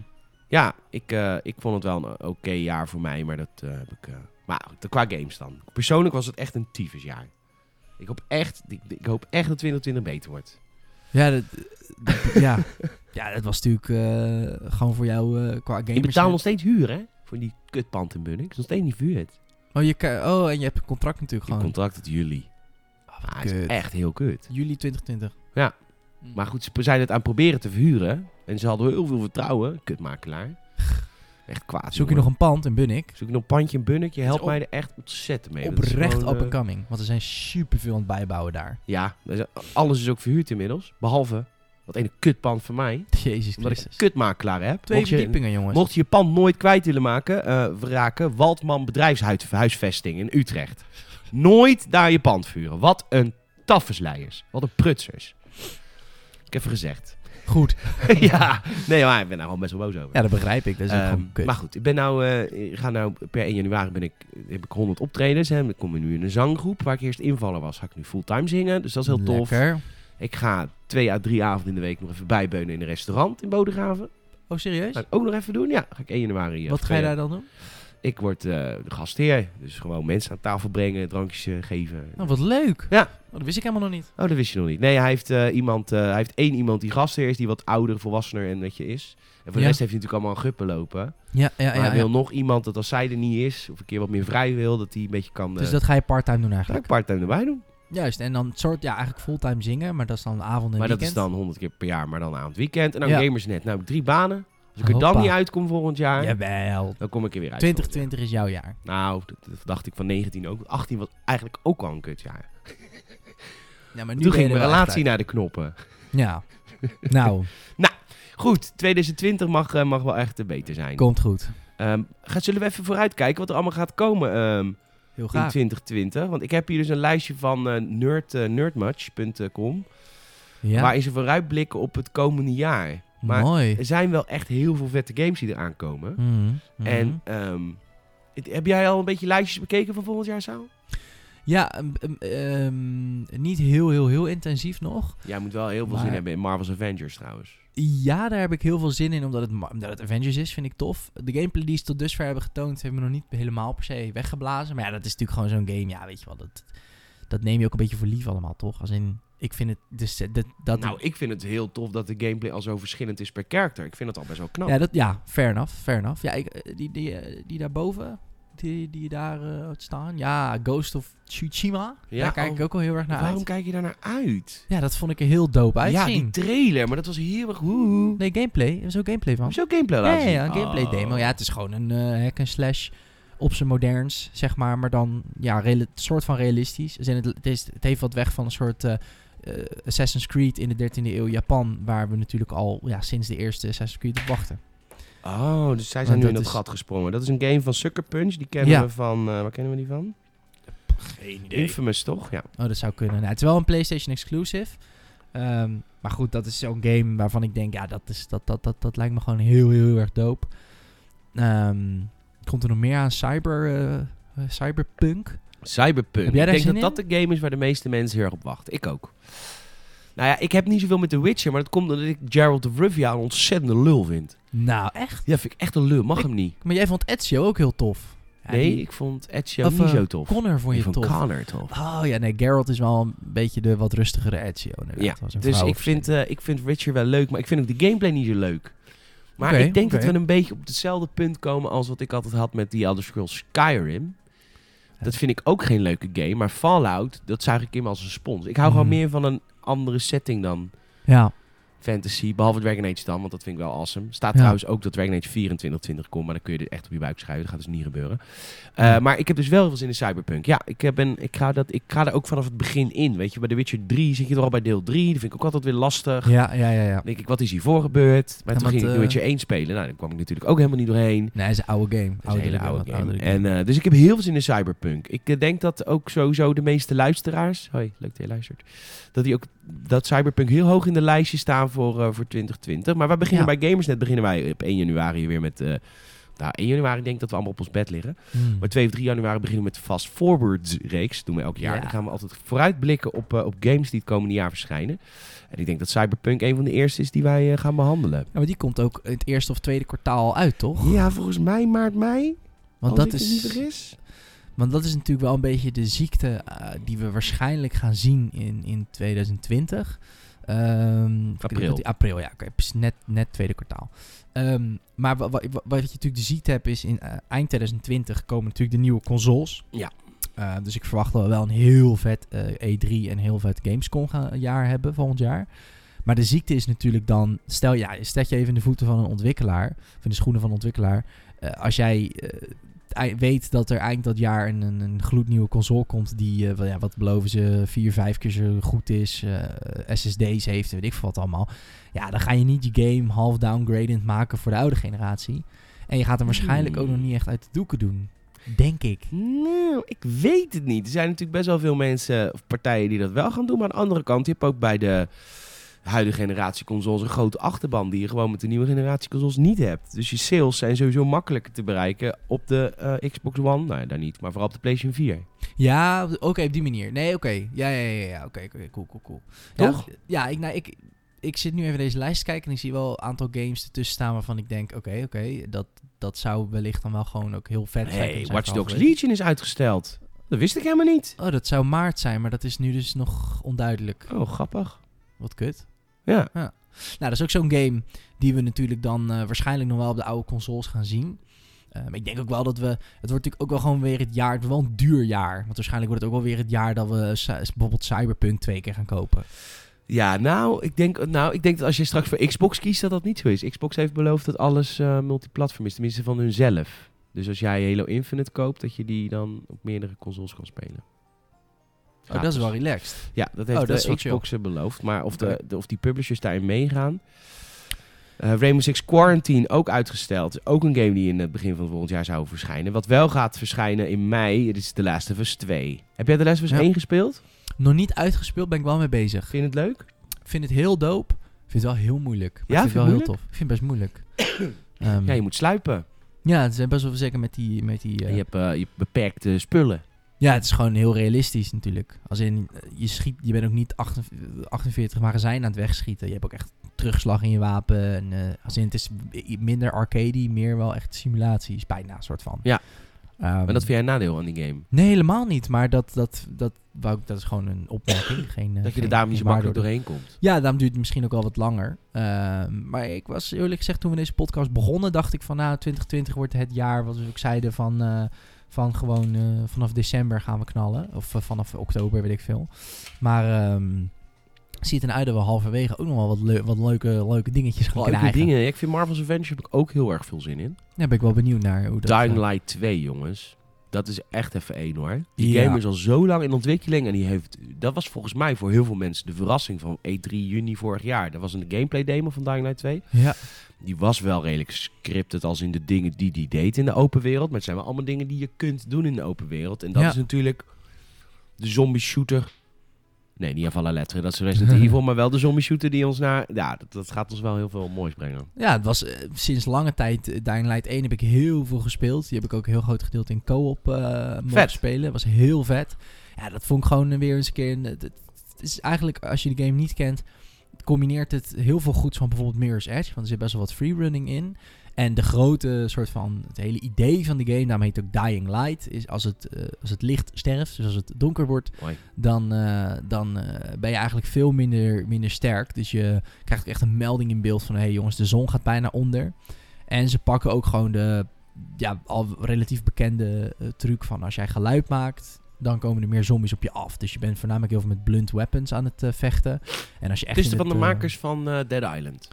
S1: ja, ik, eh, ik vond het wel een oké jaar voor mij, maar dat eh, heb ik... eh, maar goed, qua games dan. Persoonlijk was het echt een tyfusjaar. Ik hoop echt, ik, ik hoop echt dat 2020 beter wordt.
S2: Ja, dat, ja. ja, dat was natuurlijk eh, gewoon voor jou eh, qua gamers.
S1: Ik betaal nog steeds huur, hè? Voor die kutpand in Bunnik. Het is nog steeds niet verhuurd.
S2: oh, je, kan- oh, en je hebt een contract natuurlijk
S1: Ik
S2: gewoon.
S1: contract het juli. Maar hij is
S2: kut.
S1: echt heel kut.
S2: Juli 2020.
S1: Ja.
S2: Hm.
S1: Maar goed, ze zijn het aan het proberen te verhuren. En ze hadden heel veel vertrouwen. Kutmakelaar. Echt kwaad.
S2: Zoek je
S1: jongen.
S2: nog een pand in Bunnik?
S1: Zoek ik nog pandje en bunnik. Je helpt
S2: op-
S1: mij er echt ontzettend mee. Dat is
S2: Oprecht
S1: gewoon,
S2: up and
S1: eh,
S2: coming. Want er zijn superveel aan het bijbouwen daar.
S1: Ja, er is- alles is ook verhuurd inmiddels. Behalve dat ene kutpand van mij.
S2: Jezus
S1: Omdat ik
S2: Christus.
S1: een kutmakelaar heb.
S2: Twee
S1: mocht, je,
S2: verdiepingen, jongens.
S1: mocht je je pand nooit kwijt willen maken, eh, raken. Waldman bedrijfshuisvesting in Utrecht. Nooit daar je pand vuren. Wat een taffesleiers. Wat een prutsers. Ik heb even gezegd.
S2: Goed.
S1: ja, nee, maar ik ben daar gewoon best wel boos over.
S2: Ja, dat begrijp ik. Dat is ook
S1: Ehm,
S2: gewoon kut.
S1: maar goed, ik ben nou, eh, ik ga nou per 1 januari ben ik, heb ik 100 optredens. Hè. Ik kom nu in een zanggroep waar ik eerst invaller was. Ga ik nu fulltime zingen, dus dat is heel tof.
S2: Lekker.
S1: Ik ga twee à drie avonden in de week nog even bijbeunen in een restaurant in Bodegraven.
S2: Oh, serieus?
S1: Ga ik ook nog even doen, ja. Ga ik 1 januari. eh,
S2: Wat ga je
S1: twee-
S2: daar dan doen?
S1: Ik word eh, de gastheer, dus gewoon mensen aan tafel brengen, drankjes eh, geven.
S2: Nou, wat leuk.
S1: Ja.
S2: Oh, dat wist ik helemaal nog niet.
S1: Oh, dat wist je nog niet. Nee, hij heeft, eh, iemand, eh, hij heeft één iemand die gastheer is, die wat ouder, volwassener en dat je is. En voor de
S2: Ja.
S1: rest heeft hij natuurlijk allemaal een guppen lopen.
S2: Ja, ja,
S1: Maar
S2: ja.
S1: hij wil nog iemand dat als zij er niet is, of een keer wat meer vrij wil, dat hij een beetje kan.
S2: Dus
S1: eh,
S2: dat ga je part-time doen
S1: ga ik
S2: eigenlijk.
S1: part-time erbij doen.
S2: Juist. En dan soort, ja, eigenlijk fulltime zingen, maar dat is dan avond en
S1: maar dat is
S2: weekend.
S1: dan 100 keer per jaar, maar dan aan het weekend. En dan
S2: Ja.
S1: gamersnet. Nou, drie banen. Als ik er dan
S2: Hoppa.
S1: niet uitkom volgend jaar,
S2: Jawel.
S1: dan kom ik er weer uit. volgend
S2: 2020 is jouw jaar.
S1: jaar. Nou, dat, dat dacht ik van 19 ook. 18 was eigenlijk ook al een kutjaar.
S2: Ja, maar
S1: Toen
S2: ben je
S1: ging
S2: er
S1: mijn
S2: wel
S1: relatie
S2: echt
S1: naar de knoppen.
S2: uit. Ja. nou,
S1: Goed, 2020 mag, eh, mag wel echt eh, beter zijn.
S2: komt goed.
S1: Ehm, ga, zullen we even vooruitkijken wat er allemaal gaat komen ehm,
S2: Heel
S1: in
S2: graag.
S1: 2020? Want ik heb hier dus een lijstje van eh, nerd, eh, nerdmatch.com.
S2: Ja,
S1: Maar is er vooruitblikken op het komende jaar? maar-
S2: mooi.
S1: Er zijn wel echt heel veel vette games die eraan komen.
S2: Mhm, mhm.
S1: En ehm, het- heb jij al een beetje lijstjes bekeken van volgend jaar, Saal?
S2: Ja, ehm, ehm, ehm, niet heel, heel, heel intensief nog.
S1: Jij moet wel heel veel
S2: Maar-
S1: zin hebben in Marvel's Avengers trouwens.
S2: Ja, daar heb ik heel veel zin in, omdat het, ma- omdat het Avengers is, vind ik tof. De gameplay die ze tot dusver hebben getoond, hebben me nog niet helemaal per se weggeblazen. Maar ja, dat is natuurlijk gewoon zo'n game. Ja, weet je wel, dat, dat neem je ook een beetje voor lief allemaal, toch? Als in, ik vind het... Dus, eh, dat, dat,
S1: nou, ik vind het heel tof dat de gameplay al zo verschillend is per character. Ik vind het al best wel knap.
S2: ja, dat, ja, fair enough, fair enough. Ja, ik, eh, die, die, eh, die daarboven, die, die je daar eh, had staan. Ja, Ghost of Tsushima.
S1: Ja,
S2: daar kijk ik
S1: oh,
S2: ook al heel erg naar
S1: Waarom
S2: uit.
S1: kijk je daar naar uit?
S2: Ja, dat vond ik er heel dope
S1: ja,
S2: uitzien.
S1: die trailer, maar dat was heel erg woehoe.
S2: Nee, gameplay. Er was ook gameplay van.
S1: Heb je ook gameplay
S2: Ja,
S1: laten
S2: ja,
S1: zien?
S2: ja, een gameplay
S1: Oh.
S2: demo. Ja, het is gewoon een eh hack and slash op zijn moderns, zeg maar. Maar dan, ja, rela- soort van realistisch. Dus in het, het, is, het heeft wat weg van een soort eh, eh, Assassin's Creed in de 13e eeuw Japan. Waar we natuurlijk al ja, sinds de eerste Assassin's Creed op wachten.
S1: Oh, dus zij
S2: Want
S1: zijn nu
S2: dat
S1: in dat
S2: is-
S1: gat gesprongen. Dat is een game van Sucker Punch. Die kennen
S2: Ja.
S1: we van... eh, waar kennen we die van?
S2: Geen
S1: Infamous, toch? Ja.
S2: Oh, dat zou kunnen. Nou, het is wel een PlayStation exclusive. Ehm, maar goed, dat is zo'n game waarvan ik denk, ja, dat, is, dat, dat, dat, dat lijkt me gewoon heel, heel, heel erg dope. Ehm, komt er nog meer aan? Cyber, eh, eh, cyberpunk?
S1: Cyberpunk.
S2: Heb jij daar
S1: ik denk
S2: zin
S1: dat dat de game is waar de meeste mensen heel erg op wachten. Ik ook. Nou ja, ik heb niet zoveel met The Witcher, maar dat komt omdat ik Gerald of Rivia een ontzettende lul vind.
S2: Nou, echt?
S1: Ja, vind ik echt een lul. Mag
S2: Ik-
S1: hem niet.
S2: Maar jij vond Ezio ook heel tof. Ja,
S1: nee,
S2: die-
S1: ik vond Ezio
S2: of,
S1: niet
S2: eh,
S1: zo tof.
S2: Connor vond
S1: ik
S2: je
S1: vond
S2: tof.
S1: Connor tof.
S2: Oh ja, nee, Geralt is wel een beetje de wat rustigere Ezio. inderdaad.
S1: Ja,
S2: Als een
S1: Dus
S2: vrouw
S1: ik
S2: of
S1: vind,
S2: zo.
S1: eh, ik vind Witcher wel leuk, maar ik vind ook de gameplay niet zo leuk. Maar
S2: Oké,
S1: ik denk
S2: oké.
S1: dat we een beetje op hetzelfde punt komen als wat ik altijd had met The Elder Scrolls Skyrim. Dat vind ik ook geen leuke game, maar Fallout, dat zuig ik in als een spons. Ik hou
S2: Mhm.
S1: gewoon meer van een andere setting dan
S2: Ja,
S1: fantasy, behalve Dragon Age dan, want dat vind ik wel awesome. Staat
S2: Ja.
S1: trouwens ook dat Dragon Age 2420 komt, maar dan kun je er echt op je buik schuiven. Dat gaat dus niet gebeuren. Eh,
S2: Ja.
S1: Maar ik heb dus wel heel veel zin in Cyberpunk. Ja, ik, eh, ben, ik, ga dat, ik ga er ook vanaf het begin in. Weet je, bij The Witcher 3 zit je er al bij deel 3. Dat vind ik ook altijd weer lastig.
S2: ja, ja, ja. ja.
S1: Dan denk ik, wat is hiervoor gebeurd? Maar
S2: Ja,
S1: toen
S2: want,
S1: ging ik The
S2: eh,
S1: Witcher 1 spelen. Nou, dan kwam ik natuurlijk ook helemaal niet doorheen.
S2: Nee, het is een oude game.
S1: Dat is een Dus hele
S2: Oudere
S1: oude
S2: wat
S1: game.
S2: oudere
S1: En, eh, dus ik heb heel veel zin in Cyberpunk. Ik eh, denk dat ook sowieso de meeste luisteraars... Hoi, leuk dat je luistert. Dat, die ook, dat Cyberpunk heel hoog in de lijstje staan voor, eh, voor 2020. Maar wij beginnen
S2: Ja.
S1: bij Gamersnet beginnen wij op 1 januari weer met... eh, nou, 1 januari denk ik dat we allemaal op ons bed liggen.
S2: Hmm.
S1: eh, Maar 2 of 3 januari beginnen we met de Fast Forwards reeks. Dat doen we elk jaar.
S2: Ja.
S1: Dan gaan we altijd vooruitblikken op, eh, op games die het komende jaar verschijnen. En ik denk dat Cyberpunk een van de eerste is die wij eh, gaan behandelen.
S2: Ja, maar die komt ook in het eerste of tweede kwartaal uit, toch?
S1: Ja, volgens mij maart, mei.
S2: Want
S1: als
S2: dat
S1: ik me niet
S2: is,
S1: vergis.
S2: want dat is natuurlijk wel een beetje de ziekte eh, die we waarschijnlijk gaan zien in, in 2020. Ehm, ik
S1: April.
S2: weet niet, april, ja. oké, precies, net, net tweede kwartaal. Ehm, maar wa- wa- wa- wat je natuurlijk de ziekte hebt is in eh, eind 2020 komen natuurlijk de nieuwe consoles.
S1: Ja.
S2: Eh, dus ik verwacht dat we wel een heel vet eh, E3 en heel vet Gamescom gaan- eh, jaar hebben volgend jaar. Maar de ziekte is natuurlijk dan, stel ja, stel je even in de voeten van een ontwikkelaar, of in de schoenen van een ontwikkelaar. Eh, als jij eh, ei- weet dat er eind dat jaar een, een, een gloednieuwe console komt die, eh, wel ja, wat beloven ze, vier, vijf keer zo goed is, eh, SSD's heeft, en weet ik veel wat allemaal. Ja, dan ga je niet je game half downgradend maken voor de oude generatie. En je gaat hem waarschijnlijk
S1: Hmm.
S2: ook nog niet echt uit de doeken doen. Denk ik.
S1: Nou, ik weet het niet. Er zijn natuurlijk best wel veel mensen of partijen die dat wel gaan doen. Maar aan de andere kant, je hebt ook bij de huidige generatie consoles een grote achterban die je gewoon met de nieuwe generatie consoles niet hebt. Dus je sales zijn sowieso makkelijker te bereiken op de eh, Xbox One. Nou ja, daar niet, maar vooral op de PlayStation 4.
S2: Ja, oké, op die manier. Nee, oké. Ja, ja, ja, ja. Oké, oké, cool, cool, cool. Ja,
S1: Toch?
S2: Ja, ik, nou, ik, ik zit nu even deze lijst te kijken en ik zie wel een aantal games ertussen staan waarvan ik denk, oké, oké, dat, dat zou wellicht dan wel gewoon ook heel vet zijn. kunnen
S1: Hey,
S2: zijn
S1: Watch
S2: voor
S1: Dogs
S2: halverwege.
S1: Legion is uitgesteld. Dat wist ik helemaal niet.
S2: Oh, dat zou maart zijn, maar dat is nu dus nog onduidelijk.
S1: Oh, grappig.
S2: Wat kut.
S1: Ja.
S2: Nou, dat is ook zo'n game die we natuurlijk dan eh, waarschijnlijk nog wel op de oude consoles gaan zien. Eh, maar ik denk ook wel dat we... Het wordt natuurlijk ook wel gewoon weer het jaar... Het wordt wel een duur jaar. Want waarschijnlijk wordt het ook wel weer het jaar dat we cy- bijvoorbeeld Cyberpunk twee keer gaan kopen.
S1: Ja, nou ik, denk, nou, ik denk dat als je straks voor Xbox kiest, dat dat niet zo is. Xbox heeft beloofd dat alles eh, multiplatform is, tenminste van hunzelf. Dus als jij Halo Infinite koopt, dat je die dan op meerdere consoles kan spelen.
S2: Oh, dat is wel relaxed.
S1: Ja, dat heeft
S2: Oh, dat is
S1: de
S2: wel
S1: Xbox eh, beloofd. Maar of, de,
S2: Oké.
S1: de- of die publishers daarin meegaan. Eh Rainbow Six Quarantine ook uitgesteld. Ook een game die in het begin van volgend jaar zou verschijnen. Wat wel gaat verschijnen in mei, dit is The Last of Us 2. Heb jij The Last of Us
S2: Ja.
S1: 1 gespeeld?
S2: Nog niet uitgespeeld, ben ik wel mee bezig.
S1: Vind je het leuk?
S2: Ik vind het heel dope. Ik vind het wel heel moeilijk. Maar
S1: Ja,
S2: ik
S1: vind
S2: vind het wel
S1: je
S2: heel tof. Ik vind het best moeilijk. Ehm,
S1: Ja, je moet sluipen.
S2: ja, het zijn best wel zeker met die... Met die eh,
S1: En je hebt, eh, je hebt beperkte spullen.
S2: Ja, het is gewoon heel realistisch natuurlijk. Als in, eh, je, schiet, je bent ook niet 48 48 magazijnen aan het wegschieten. Je hebt ook echt terugslag in je wapen. En, eh, als in, het is i- minder arcade, meer wel echt simulaties. Bijna, een soort van.
S1: Ja.
S2: Ehm,
S1: Maar dat vind jij een nadeel aan die game?
S2: Nee, helemaal niet. Maar dat, dat, dat, wou ik- dat is gewoon een opmerking. geen, eh,
S1: Dat je
S2: geen-
S1: er daarom niet
S2: geen
S1: zo makkelijk
S2: waardoor-
S1: doorheen komt.
S2: Ja, daarom duurt het misschien ook al wat langer. Ehm, maar ik was eerlijk gezegd, toen we deze podcast begonnen, dacht ik van nou, 2020 wordt het jaar wat we ook zeiden van eh, Van gewoon eh, vanaf december gaan we knallen. Of eh, vanaf oktober, weet ik veel. Maar ehm ziet eruit dat we halverwege ook nog wel wat, leu- wat leuke, leuke dingetjes gaan
S1: Leuke
S2: krijgen.
S1: dingen. Ja, ik vind Marvel's Avengers heb ik ook heel erg veel zin in.
S2: Daar ben ik wel benieuwd naar. Hoe dat, eh,
S1: Dying Light 2, jongens. Dat is echt even één hoor. Die
S2: Ja.
S1: game is al zo lang in ontwikkeling. En die heeft, dat was volgens mij voor heel veel mensen de verrassing van E3 juni vorig jaar. Dat was een gameplay demo van Dying Light 2.
S2: ja.
S1: Die was wel redelijk scripted als in de dingen die die deed in de open wereld. Maar het zijn wel allemaal dingen die je kunt doen in de open wereld. En dat
S2: Ja.
S1: is natuurlijk de zombie shooter. Nee, niet af alle letteren. Dat is Resident Evil. Maar wel de zombie shooter die ons naar... Ja, dat, dat gaat ons wel heel veel moois brengen.
S2: Ja, het was eh, sinds lange tijd eh, Dying Light 1 heb ik heel veel gespeeld. Die heb ik ook een heel groot gedeelte in co-op eh mogen
S1: Vet.
S2: spelen. Was heel vet. Ja, dat vond ik gewoon eh, weer eens een keer... een- Het, het- het is eigenlijk, als je de game niet kent, combineert het heel veel goeds van bijvoorbeeld Mirror's Edge. Want er zit best wel wat freerunning in. En de grote soort van, het hele idee van de game, daarom heet het ook Dying Light, is als het, eh, als het licht sterft, dus als het donker wordt,
S1: Mooi.
S2: dan, eh, dan eh, ben je eigenlijk veel minder, minder sterk. Dus je krijgt ook echt een melding in beeld van... hé hey jongens, de zon gaat bijna onder. En ze pakken ook gewoon de ja, al relatief bekende eh, truc van... als jij geluid maakt, dan komen er meer zombies op je af. Dus je bent voornamelijk heel veel met blunt weapons aan het eh, vechten. En als je echt
S1: Het is
S2: in
S1: van de
S2: eh,
S1: makers van eh, Dead Island.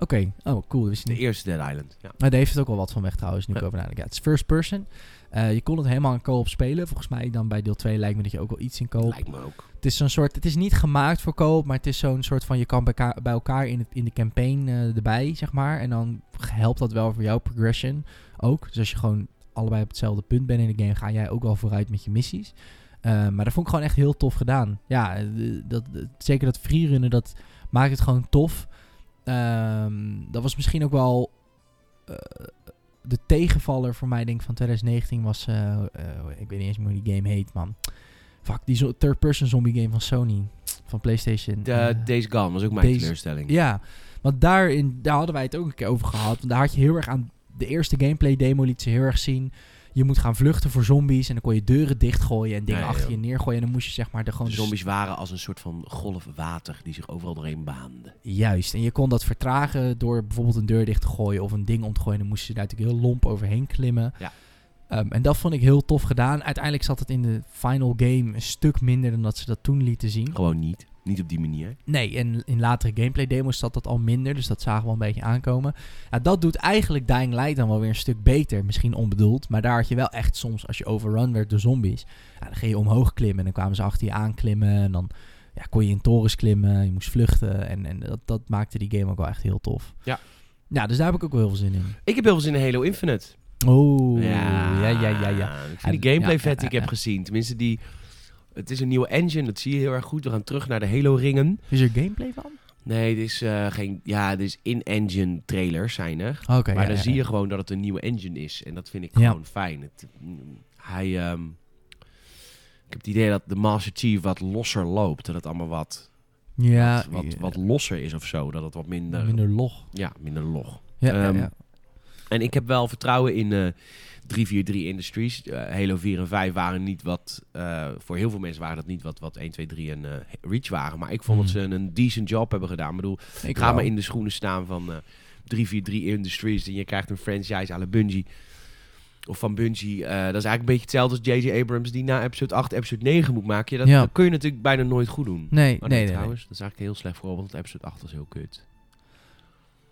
S2: Oké, oh cool, dat wist ik
S1: De
S2: niet.
S1: eerste Dead Island. Ja.
S2: Maar daar heeft het ook wel wat van weg trouwens, nu ik
S1: Ja.
S2: over nadenk. Ja, het is first person. Eh, je kon het helemaal in co-op spelen. Volgens mij dan bij deel 2 lijkt me dat je ook wel iets in co-op
S1: Lijkt me ook.
S2: het is zo'n soort, het is niet gemaakt voor koop, maar het is zo'n soort van je kan bij elkaar, bij elkaar in, het, in de campaign eh, erbij, zeg maar. En dan helpt dat wel voor jouw progression ook. Dus als je gewoon allebei op hetzelfde punt bent in de game, ga jij ook wel vooruit met je missies. Eh, maar dat vond ik gewoon echt heel tof gedaan. Ja, eh, dat, dat- zeker dat freerunnen, dat maakt het gewoon tof. Ehm, dat was misschien ook wel eh, de tegenvaller voor mij, denk ik, van 2019 was... eh, eh, ik weet niet eens meer hoe die game heet, man. Fuck, die zo- third-person zombie game van Sony. Van PlayStation.
S1: De,
S2: Eh,
S1: Days Gone was ook mijn
S2: Days-
S1: teleurstelling.
S2: ja, want daarin, daar hadden wij het ook een keer over gehad. Want daar had je heel erg aan... De eerste gameplay demo liet ze heel erg zien... Je moet gaan vluchten voor zombies. En dan kon je deuren dichtgooien en dingen
S1: Ja, ja,
S2: achter
S1: ja.
S2: je neergooien. En dan moest je zeg maar de gewoon...
S1: De zombies waren als een soort van golf water die zich overal doorheen baande.
S2: Juist. En je kon dat vertragen door bijvoorbeeld een deur dicht te gooien of een ding om te gooien. Dan moest je daar natuurlijk heel lomp overheen klimmen.
S1: Ja.
S2: Ehm, en dat vond ik heel tof gedaan. Uiteindelijk zat het in de final game een stuk minder dan dat ze dat toen lieten zien.
S1: Gewoon niet. Niet op die manier.
S2: Nee, en in latere gameplay demos zat dat al minder. Dus dat zagen we al een beetje aankomen. Ja, dat doet eigenlijk Dying Light dan wel weer een stuk beter. Misschien onbedoeld. Maar daar had je wel echt soms, als je overrun werd door zombies. Ja, dan ging je omhoog klimmen. En dan kwamen ze achter je aanklimmen. En dan ja, kon je in torens klimmen. Je moest vluchten. En, en dat, dat maakte die game ook wel echt heel tof.
S1: Ja.
S2: Ja, dus daar heb ik ook wel heel veel zin in.
S1: Ik heb heel veel zin in Halo Infinite.
S2: Oh, ja, ja, ja, ja.
S1: Ik
S2: En-
S1: vind die gameplay
S2: ja,
S1: vet
S2: ja,
S1: die ik
S2: ja,
S1: heb gezien. Tenminste, die, het is een nieuwe engine. Dat zie je heel erg goed. We gaan terug naar de Halo-ringen.
S2: Is er gameplay van?
S1: Nee, dit is eh, geen... Ja, dit is in-engine trailers zijn er.
S2: Oké,
S1: Maar
S2: ja,
S1: dan
S2: ja,
S1: zie
S2: ja.
S1: je gewoon dat het een nieuwe engine is. En dat vind ik
S2: Ja.
S1: gewoon fijn. Het, mm, hij... ehm, ik heb het idee dat de Master Chief wat losser loopt. Dat het allemaal wat,
S2: Ja,
S1: wat, wat, wat losser is of zo. Dat het wat minder...
S2: minder log.
S1: Ja, minder log.
S2: Ja, ja,
S1: Ehm,
S2: ja.
S1: En ik heb wel vertrouwen in eh 343 Industries. Eh, Halo 4 en 5 waren niet wat... eh, voor heel veel mensen waren dat niet wat, wat 1, 2, 3 en eh, Reach waren. Maar ik vond dat
S2: Hmm.
S1: ze een- een decent job hebben gedaan. Ik bedoel,
S2: Ik
S1: ga
S2: wel.
S1: maar in de schoenen staan van eh 343 Industries... en je krijgt een franchise à la Bungie. Of van Bungie. Eh, dat is eigenlijk een beetje hetzelfde als J.J. Abrams... die na episode 8 episode 9 moet maken. Ja, dat,
S2: Ja.
S1: dat kun je natuurlijk bijna nooit goed doen.
S2: Nee,
S1: Oh,
S2: nee, nee, nee.
S1: trouwens. Dat is eigenlijk een heel slecht voorbeeld. Want episode 8 was heel kut.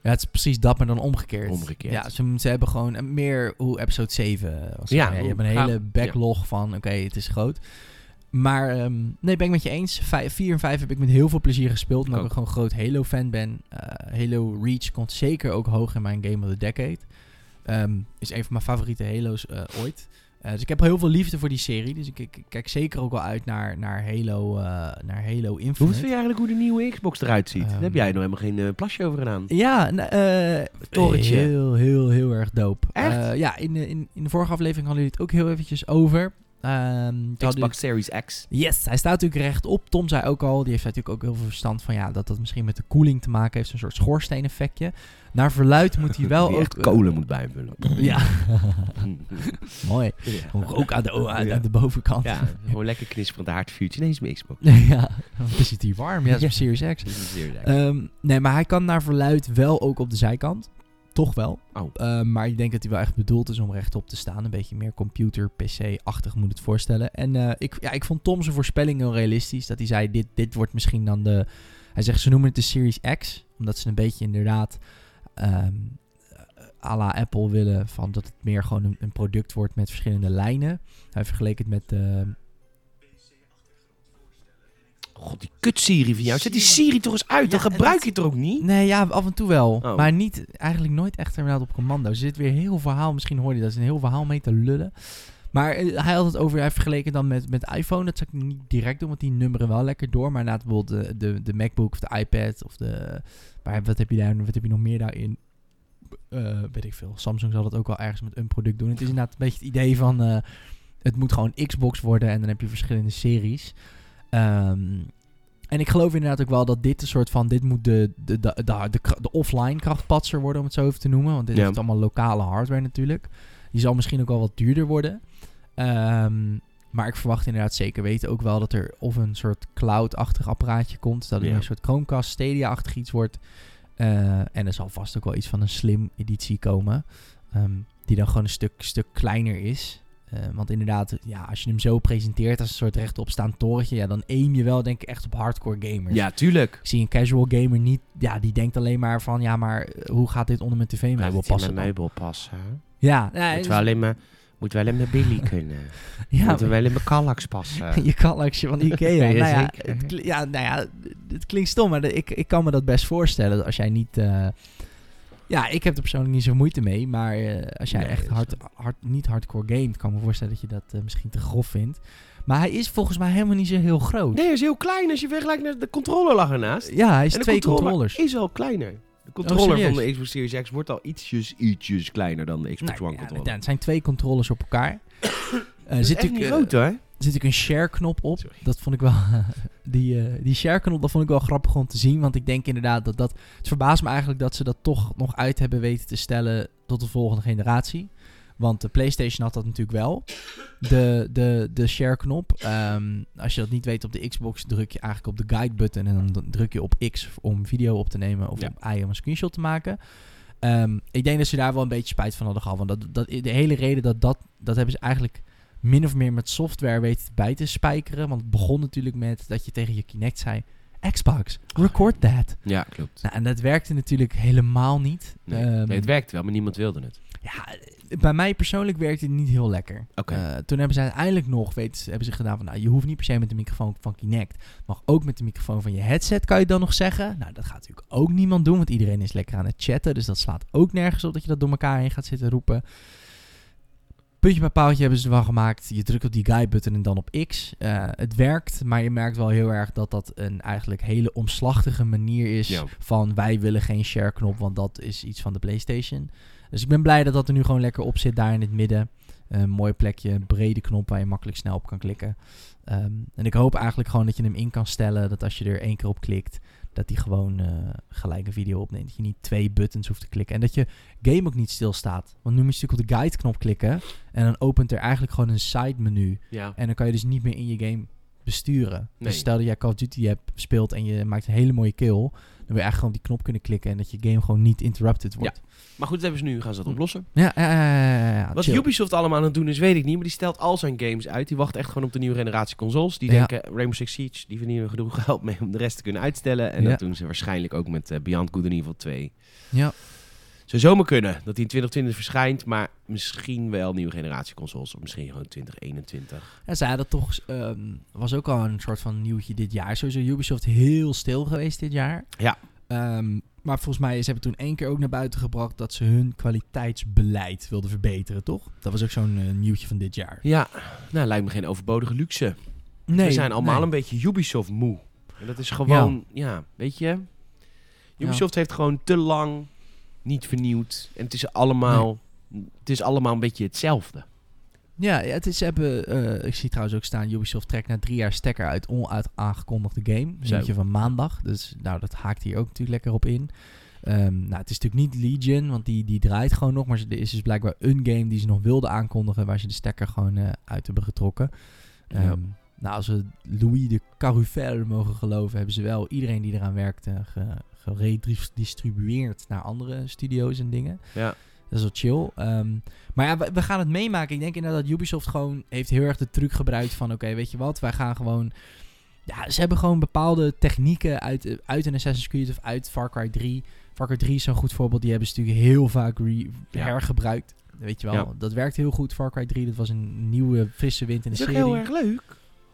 S2: Ja, het is precies dat, maar dan omgekeerd.
S1: Omgekeerd.
S2: Ja, ze, ze hebben gewoon een- meer hoe episode 7 was.
S1: Ja,
S2: Ja, je
S1: hoe-
S2: hebt een
S1: ja,
S2: hele backlog van, oké, het is groot. Maar ehm, nee, ben ik met je eens. 4 en 5 heb ik met heel veel plezier gespeeld, omdat ik
S1: ook.
S2: ook gewoon groot Halo-fan ben. Eh, Halo Reach komt zeker ook hoog in mijn Game of the Decade. Ehm, is een van mijn favoriete Halo's eh, ooit. Eh, dus ik heb heel veel liefde voor die serie. Dus ik, ik- ik kijk zeker ook wel uit naar, naar, Halo, eh naar Halo Infinite.
S1: Hoe vind je eigenlijk hoe de nieuwe Xbox eruit ziet? Daar
S2: Ehm.
S1: heb jij nog helemaal geen eh, plasje over gedaan.
S2: Ja, n- eh,
S1: Torentje.
S2: Heel, heel, heel erg dope.
S1: Echt?
S2: Eh, ja, in, de- in, in de vorige aflevering hadden jullie het ook heel eventjes over. Ehm, toen hadden
S1: Xbox Series X.
S2: Yes, hij staat natuurlijk rechtop. Tom zei ook al, die heeft natuurlijk ook heel veel verstand van ja, dat dat misschien met de koeling te maken heeft, zo'n soort schoorsteeneffectje. Naar verluid moet hij wel
S1: Die
S2: ook
S1: echt kolen moet bijvullen.
S2: Ja, mooi.
S1: ja.
S2: Ook aan de, o- aan,
S1: Ja.
S2: aan de bovenkant.
S1: Ja, gewoon lekker knisperend haardvuurtje. Nee, is mijn Xbox.
S2: ja, want dan zit hij warm. Ja, dat is
S1: Ja.
S2: een Series X.
S1: Series X.
S2: Ehm, nee, maar hij kan naar verluid wel ook op de zijkant. toch wel.
S1: Oh.
S2: Eh, maar ik denk dat hij wel echt bedoeld is om rechtop te staan. Een beetje meer computer, PC-achtig moet het voorstellen. En eh, ik, ja, ik vond Tom zijn voorspelling heel realistisch. Dat hij zei, dit, dit wordt misschien dan de... Hij zegt, ze noemen het de Series X. Omdat ze een beetje inderdaad... ehm eh, à la Apple willen. Van dat het meer gewoon een, een product wordt met verschillende lijnen. Hij vergeleek het met... eh,
S1: God, die kut Siri van jou. Zet die Siri toch eens uit, dan gebruik je het er ook niet.
S2: Nee, ja, af en toe wel.
S1: Oh.
S2: Maar niet, eigenlijk nooit echt inderdaad op commando. Dus Er zit weer heel verhaal, misschien hoorde je dat, er is een heel verhaal mee te lullen. Maar eh, hij had het over, hij vergeleken dan met, met iPhone. Dat zou ik niet direct doen, want die nummeren wel lekker door. Maar na bijvoorbeeld de, de, de MacBook of de iPad of de... Maar wat heb je, daar, wat heb je nog meer daarin? Eh, weet ik veel. Samsung zal dat ook wel ergens met een product doen. Het is inderdaad een beetje het idee van... eh, het moet gewoon Xbox worden en dan heb je verschillende series. Ehm, en ik geloof inderdaad ook wel dat dit een soort van... Dit moet de, de, de, de, de, kra- de offline krachtpatser worden, om het zo even te noemen. Want dit
S1: Ja.
S2: heeft allemaal lokale hardware natuurlijk. Die zal misschien ook wel wat duurder worden. Ehm, maar ik verwacht inderdaad zeker weten ook wel dat er of een soort cloud-achtig apparaatje komt. Dat er
S1: Ja.
S2: een soort Chromecast Stadia-achtig iets wordt. Eh, en er zal vast ook wel iets van een slim editie komen. ehm, die dan gewoon een stuk, stuk kleiner is. Eh, want inderdaad, ja, als je hem zo presenteert als een soort rechtopstaand torentje, ja, dan aim je wel denk ik echt op hardcore gamers.
S1: Ja, tuurlijk.
S2: Ik zie een casual gamer niet, ja, die denkt alleen maar van, ja, maar eh, hoe gaat dit onder mijn tv mee passen? dan?
S1: passen.
S2: Ja, ja, dus-
S1: alleen maar, moeten we alleen maar Billy kunnen.
S2: ja,
S1: wel in mijn Kallax passen.
S2: je kallaksje van Ikea.
S1: Ja,
S2: nou, ja,
S1: zeker.
S2: het, kli- ja, nou ja, het klinkt stom, maar de- ik, ik kan me dat best voorstellen. Als jij niet... eh, ja, ik heb er persoonlijk niet zo moeite mee. Maar eh, als jij
S1: Nee, dat
S2: echt
S1: is
S2: hard, hard, niet hardcore gamet, kan ik me voorstellen dat je dat eh, misschien te grof vindt. Maar hij is volgens mij helemaal niet zo heel groot.
S1: Nee, hij is heel klein als je vergelijkt naar de controller lag ernaast.
S2: Ja, hij is
S1: En de
S2: twee
S1: controller
S2: controllers. Oh,
S1: Is al kleiner. De controller van
S2: serieus?
S1: de Xbox Series X wordt al ietsjes, ietsjes kleiner dan de Xbox
S2: Nou,
S1: One
S2: ja,
S1: controller.
S2: het zijn twee controllers op elkaar. Eh,
S1: Dat is
S2: zit
S1: echt
S2: natuurlijk,
S1: niet
S2: eh,
S1: groot hoor.
S2: Er zit ook een share-knop op.
S1: Sorry.
S2: Dat vond ik wel. die eh, die share-knop, dat vond ik wel grappig om te zien. Want ik denk inderdaad dat dat. Het verbaast me eigenlijk dat ze dat toch nog uit hebben weten te stellen tot de volgende generatie. Want de PlayStation had dat natuurlijk wel. De, de, de share-knop. Ehm, als je dat niet weet op de Xbox, druk je eigenlijk op de guide-button. En dan d- druk je op X om video op te nemen. Of
S1: Ja.
S2: op I om een screenshot te maken. Ehm, ik denk dat ze daar wel een beetje spijt van hadden gehad. Want dat, dat, de hele reden dat dat. Dat hebben ze eigenlijk min of meer met software weet bij te spijkeren. Want het begon natuurlijk met dat je tegen je Kinect zei... Xbox, record that.
S1: Ja, klopt.
S2: Nou, en dat werkte natuurlijk helemaal niet. Ehm,
S1: werkt wel, maar niemand wilde het.
S2: ja, bij mij persoonlijk werkte het niet heel lekker.
S1: Oké.
S2: Eh, toen hebben ze uiteindelijk nog weten, ze- hebben ze gedaan van... Nou, je hoeft niet per se met de microfoon van Kinect. Mag ook met de microfoon van je headset, kan je dan nog zeggen. Nou, dat gaat natuurlijk ook niemand doen. Want iedereen is lekker aan het chatten. Dus dat slaat ook nergens op dat je dat door elkaar heen gaat zitten roepen. Puntje bij paaltje hebben ze ervan gemaakt. Je drukt op die guide-button en dan op X. Eh, het werkt, maar je merkt wel heel erg dat dat een eigenlijk hele omslachtige manier is...
S1: Ja.
S2: van wij willen geen share-knop, want dat is iets van de PlayStation. Dus ik ben blij dat dat er nu gewoon lekker op zit, daar in het midden. Een mooi plekje, een brede knop waar je makkelijk snel op kan klikken. Ehm, en ik hoop eigenlijk gewoon dat je hem in kan stellen... dat als je er één keer op klikt, dat hij gewoon eh, gelijk een video opneemt. Dat je niet twee buttons hoeft te klikken. En dat je game ook niet stilstaat. Want nu moet je natuurlijk op de guide-knop klikken... En dan opent er eigenlijk gewoon een side menu.
S1: Ja.
S2: En dan kan je dus niet meer in je game besturen.
S1: Nee.
S2: Dus stel dat jij Call of Duty hebt, speelt en je maakt een hele mooie kill. Dan wil je eigenlijk gewoon op die knop kunnen klikken en dat je game gewoon niet interrupted wordt.
S1: Maar goed, dat hebben ze nu, gaan
S2: hm.
S1: ze dat oplossen.
S2: Ja, ja, ja, ja, ja, ja,
S1: Wat
S2: chill.
S1: Ubisoft allemaal aan het doen is, weet ik niet. Maar die stelt al zijn games uit. Die wacht echt gewoon op de nieuwe generatie consoles. Die
S2: Ja.
S1: denken, Rainbow Six Siege, die verdienen genoeg geld mee om de rest te kunnen uitstellen. En
S2: Ja.
S1: dat doen ze waarschijnlijk ook met eh, Beyond Good and Evil 2.
S2: Ja.
S1: Zou zomaar kunnen dat die in 2020 verschijnt. Maar misschien wel nieuwe generatie consoles. Of misschien gewoon 2021.
S2: Ja, ze hadden toch, ehm, was ook al een soort van nieuwtje dit jaar. Sowieso Ubisoft heel stil geweest dit jaar.
S1: Ja.
S2: Ehm, maar volgens mij, ze hebben toen één keer ook naar buiten gebracht dat ze hun kwaliteitsbeleid wilden verbeteren, toch? Dat was ook zo'n eh, nieuwtje van dit jaar.
S1: Ja, nou lijkt me geen overbodige luxe.
S2: Nee,
S1: We zijn allemaal
S2: nee.
S1: een beetje Ubisoft moe. En dat is gewoon, ja, weet je. Ubisoft heeft gewoon te lang niet vernieuwd. En het is allemaal, het is allemaal een beetje hetzelfde.
S2: Ja, ja, het is, ze hebben, eh, ik zie trouwens ook staan, Ubisoft trekt na drie jaar stekker uit onuit aangekondigde game.
S1: Zo.
S2: Zietje van maandag, dus nou, dat haakt hier ook natuurlijk lekker op in. Ehm, nou, het is natuurlijk niet Legion, want die, die draait gewoon nog, maar ze- er is dus blijkbaar een game die ze nog wilden aankondigen, waar ze de stekker gewoon eh, uit hebben getrokken.
S1: Ja.
S2: Ehm, Nou, als we Louis de Carufel mogen geloven, hebben ze wel iedereen die eraan werkte ge- geredistribueerd naar andere studio's en dingen.
S1: Ja.
S2: Dat is wel chill. Ehm, maar ja, we, we gaan het meemaken. Ik denk inderdaad dat Ubisoft gewoon heeft heel erg de truc gebruikt van... Oké, weet je wat, wij gaan gewoon... Ja, ze hebben gewoon bepaalde technieken uit, eh, uit een Assassin's Creed of uit Far Cry 3. Far Cry 3 is zo'n goed voorbeeld. Die hebben ze natuurlijk heel vaak re-
S1: Ja.
S2: hergebruikt. Weet je wel,
S1: Ja.
S2: dat werkt heel goed. Far Cry 3, dat was een nieuwe frisse wind in de
S1: Dat is ook
S2: serie.
S1: heel erg leuk.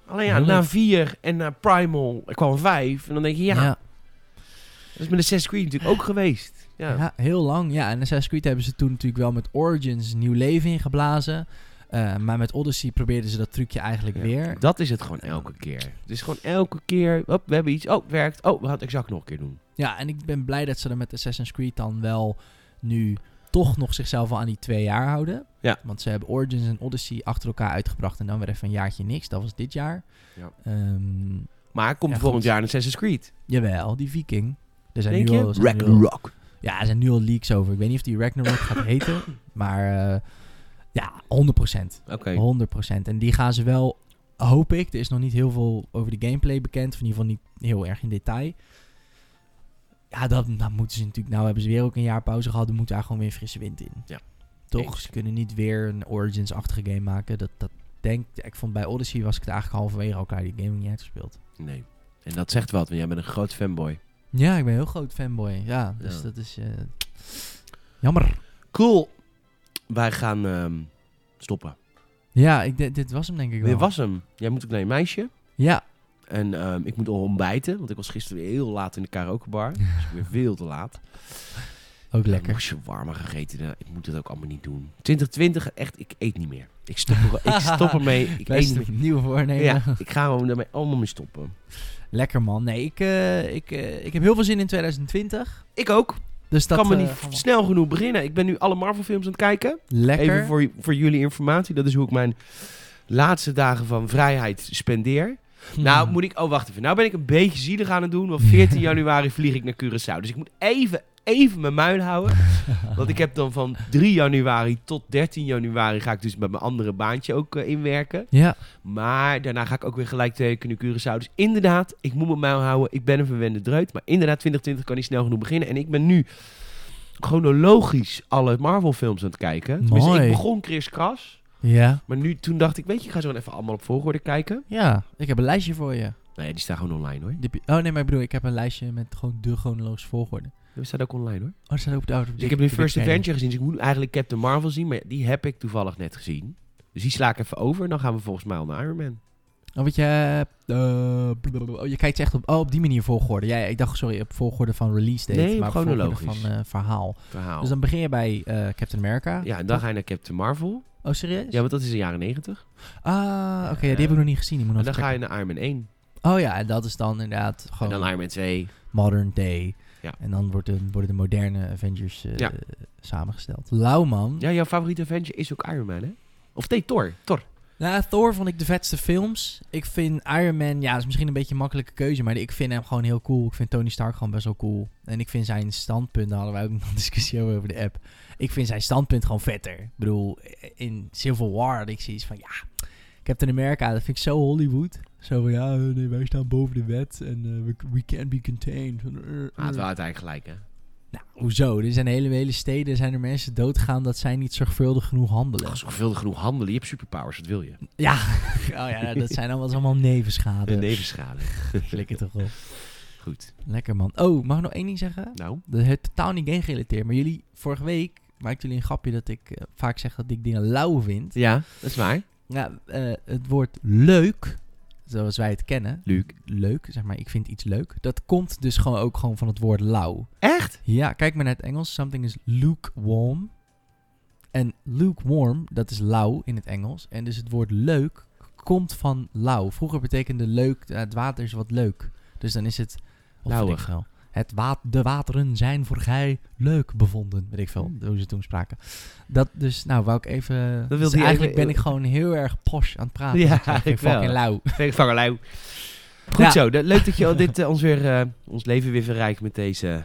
S1: Alleen ja,
S2: Heel
S1: na
S2: leuk.
S1: 4 en na Primal er kwam 5. En dan denk je, ja, dat is met Assassin's Creed natuurlijk ook geweest. Ja.
S2: Ja, heel lang. Ja, en Assassin's Creed hebben ze toen natuurlijk wel met Origins nieuw leven ingeblazen. Eh, maar met Odyssey probeerden ze dat trucje eigenlijk
S1: Ja,
S2: weer.
S1: Dat is het gewoon elke keer. Het is gewoon elke keer, hop, we hebben iets, oh, het werkt. Oh, we gaan het exact nog een keer doen.
S2: Ja, en ik ben blij dat ze er met Assassin's Creed dan wel nu toch nog zichzelf wel aan die twee jaar houden.
S1: Ja.
S2: Want ze hebben Origins en Odyssey achter elkaar uitgebracht en dan weer even een jaartje niks. Dat was dit jaar.
S1: Ja.
S2: Ehm,
S1: Maar komt
S2: Ja,
S1: volgend
S2: goed.
S1: jaar een Assassin's Creed.
S2: jawel, die viking. Er zijn
S1: Denk
S2: nu
S1: je?
S2: al, er zijn nu al-
S1: Ragnarok.
S2: Ja, er zijn nu al leaks over. Ik weet niet of die Ragnarok gaat heten, maar eh, ja, 100%.
S1: Oké.
S2: 100%. En die gaan ze wel, hoop ik. Er is nog niet heel veel over de gameplay bekend. Of in ieder geval niet heel erg in detail. Ja, dat, dat moeten ze natuurlijk. Nou hebben ze weer ook een jaar pauze gehad. Dan moet daar gewoon weer frisse wind in.
S1: Ja.
S2: Toch?
S1: Eens.
S2: Ze kunnen niet weer een Origins-achtige game maken. Dat, dat denk ik. vond bij Odyssey was ik het eigenlijk halverwege al klaar. Die game niet uitgespeeld.
S1: Nee. En dat zegt wat, want jij bent een groot fanboy.
S2: Ja, ik ben een heel groot fanboy. Ja, dus
S1: Ja.
S2: dat is... eh, jammer.
S1: Cool. Wij gaan ehm, stoppen.
S2: Ja, ik, dit- dit was hem denk ik wel.
S1: Dit was hem. Jij moet ook naar je meisje.
S2: Ja.
S1: En ehm, ik moet al ontbijten, want ik was gisteren weer heel laat in de karaokebar. Dus weer veel te laat.
S2: Ook
S1: Ja,
S2: lekker.
S1: Moesje warmer gegeten. Nou, ik moet dat ook allemaal niet doen. 2020, echt, ik eet niet meer. Ik stop, er, ik stop ermee. Ik eet niet
S2: Beste
S1: meer.
S2: nieuwe voornemen.
S1: Ja, ik ga gewoon daarmee allemaal mee stoppen.
S2: Lekker man. Nee, ik, eh, ik, eh, ik heb heel veel zin in 2020.
S1: Ik ook.
S2: Dus dat
S1: kan me
S2: eh,
S1: niet
S2: gaan we-
S1: snel genoeg beginnen. Ik ben nu alle Marvel films aan het kijken.
S2: lekker.
S1: Even voor, voor jullie informatie. Dat is hoe ik mijn laatste dagen van vrijheid spendeer.
S2: Hmm.
S1: Nou, moet ik... Oh, wacht even. Nou ben ik een beetje zielig aan het doen. Want 14 januari vlieg ik naar Curaçao. Dus ik moet even, even mijn muil houden. Want ik heb dan van 3 januari tot 13 januari... ga ik dus met mijn andere baantje ook eh, inwerken.
S2: Ja,
S1: Maar daarna ga ik ook weer gelijk tekenen in Curaçao. Dus inderdaad, ik moet mijn mijl houden. Ik ben een verwende dreut. Maar inderdaad, 2020 kan niet snel genoeg beginnen. En ik ben nu chronologisch alle Marvel films aan het kijken. Tenminste,
S2: Mooi.
S1: ik begon Chris Kras.
S2: ja,
S1: Maar nu, toen dacht ik, weet je, ik ga zo gewoon even allemaal op volgorde kijken.
S2: ja. Ik heb een lijstje voor je.
S1: Nee, die staan gewoon online hoor.
S2: Die heb je- Oh nee, maar ik bedoel, ik heb een lijstje met gewoon de chronologische volgorde.
S1: Die staan ook online hoor.
S2: Oh, dat staat ook op de auto.
S1: Dus ik heb nu First Adventure gezien. Dus ik moet eigenlijk Captain Marvel zien. Maar die heb ik toevallig net gezien. Dus die sla ik even over. En dan gaan we volgens mij al naar Iron Man.
S2: Oh, want je... hebt, eh, blablabla. oh, je kijkt echt op... Oh, op die manier volgorde. Ja, ja, ik dacht, sorry, op volgorde van release date.
S1: Nee, op
S2: maar volgorde
S1: chronologisch.
S2: van eh, verhaal.
S1: Verhaal.
S2: Dus dan begin je bij eh, Captain America.
S1: Ja, en dan ga je naar Captain Marvel.
S2: Oh, serieus?
S1: Ja, want dat is de jaren 90.
S2: Ah, oké, ja,
S1: Ja.
S2: die heb ik nog niet gezien. Die moet
S1: En
S2: nog
S1: dan
S2: even
S1: ga je naar Iron Man 1.
S2: kijken. Oh ja, en dat is dan inderdaad gewoon...
S1: En dan Iron Man 2.
S2: modern day.
S1: Ja.
S2: En dan wordt de, worden de moderne Avengers eh,
S1: Ja.
S2: samengesteld. Lauw man.
S1: Ja, jouw favoriete Avenger is ook Iron Man, hè? Of nee, Thor. Thor.
S2: Nou, Thor vond ik de vetste films. Ik vind Iron Man, ja, dat is misschien een beetje een makkelijke keuze, maar ik vind hem gewoon heel cool. Ik vind Tony Stark gewoon best wel cool. En ik vind zijn standpunt, daar hadden wij ook nog een discussie over over de app. Ik vind zijn standpunt gewoon vetter. Ik bedoel, in Civil War had ik zoiets van, ja, Captain America, dat vind ik zo Hollywood. Zo van, ja, eh, nee, wij staan boven de wet en eh, we, we can't be contained.
S1: Ah, het wel uiteindelijk gelijk, hè?
S2: Nou, hoezo? Er zijn hele, hele steden, zijn er mensen doodgegaan dat zij niet zorgvuldig genoeg handelen.
S1: Als zoveel genoeg handelen, je hebt superpowers, wat wil je?
S2: Ja, dus. oh ja, nou, dat zijn allemaal, allemaal nevenschade.
S1: Een nevenschade.
S2: Flikker toch op.
S1: Goed.
S2: Lekker man. Oh, mag ik nog één ding zeggen?
S1: Nou,
S2: Dat is totaal niet game gerelateerd, maar jullie, vorige week maakten jullie een grapje dat ik eh, vaak zeg dat ik dingen lauw vind.
S1: ja, dat is waar.
S2: Ja, eh, het woord leuk, zoals wij het kennen,
S1: Luc.
S2: leuk, zeg maar, ik vind iets leuk, dat komt dus gewoon ook gewoon van het woord lauw.
S1: Echt?
S2: Ja, kijk maar naar het Engels. Something is lukewarm. En lukewarm, dat is lauw in het Engels. En dus het woord leuk komt van lauw. Vroeger betekende leuk, eh, het water is wat leuk. Dus dan is het... of
S1: Lauwig.
S2: weet ik veel. Het wa de wateren zijn voor gij leuk bevonden. Weet ik veel,
S1: Hmm.
S2: hoe ze toen spraken. Dat dus, nou, wou ik even... dus
S1: wilde je
S2: eigenlijk
S1: even-
S2: ben ik gewoon heel erg posh aan het praten.
S1: Ja,
S2: Dus ik zeg,
S1: ik wel.
S2: fucking lauw.
S1: Vangerlui. Goed
S2: Ja.
S1: zo. dat- Leuk dat je al dit, eh, ons, weer, eh, ons leven weer verrijkt met deze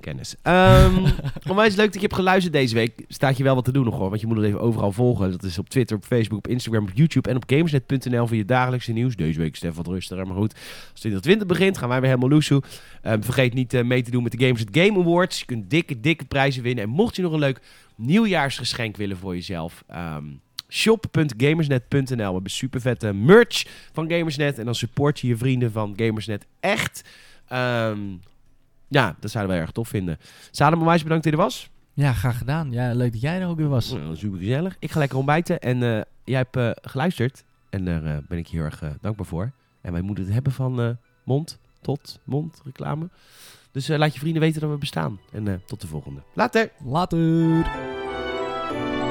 S1: Kennis. Ehm onwijs leuk dat je hebt geluisterd deze week. Staat je wel wat te doen nog hoor, want je moet het even overal volgen. Dat is op Twitter, op Facebook, op Instagram, op YouTube en op gamersnet.nl voor je dagelijkse nieuws. Deze week is het even wat rustiger, maar goed. Als 2020 begint, gaan wij weer helemaal loesoe. Ehm, vergeet niet eh, mee te doen met de Gamersnet Game Awards. Je kunt dikke, dikke prijzen winnen. En mocht je nog een leuk nieuwjaarsgeschenk willen voor jezelf... ehm, Shop.gamersnet.nl. We hebben super vette merch van Gamersnet. En dan support je je vrienden van Gamersnet echt. Ehm, ja, dat zouden wij erg tof vinden. Salem Onwijs, bedankt dat je er was.
S2: Ja, graag gedaan. Ja, leuk dat jij er ook weer was.
S1: Nou, super gezellig. Ik ga lekker ontbijten en eh, jij hebt eh, geluisterd. En daar eh, ben ik heel erg eh, dankbaar voor. En wij moeten het hebben van eh, mond tot mond reclame. Dus eh, laat je vrienden weten dat we bestaan. En eh, tot de volgende. Later!
S2: Later.
S3: Thank you.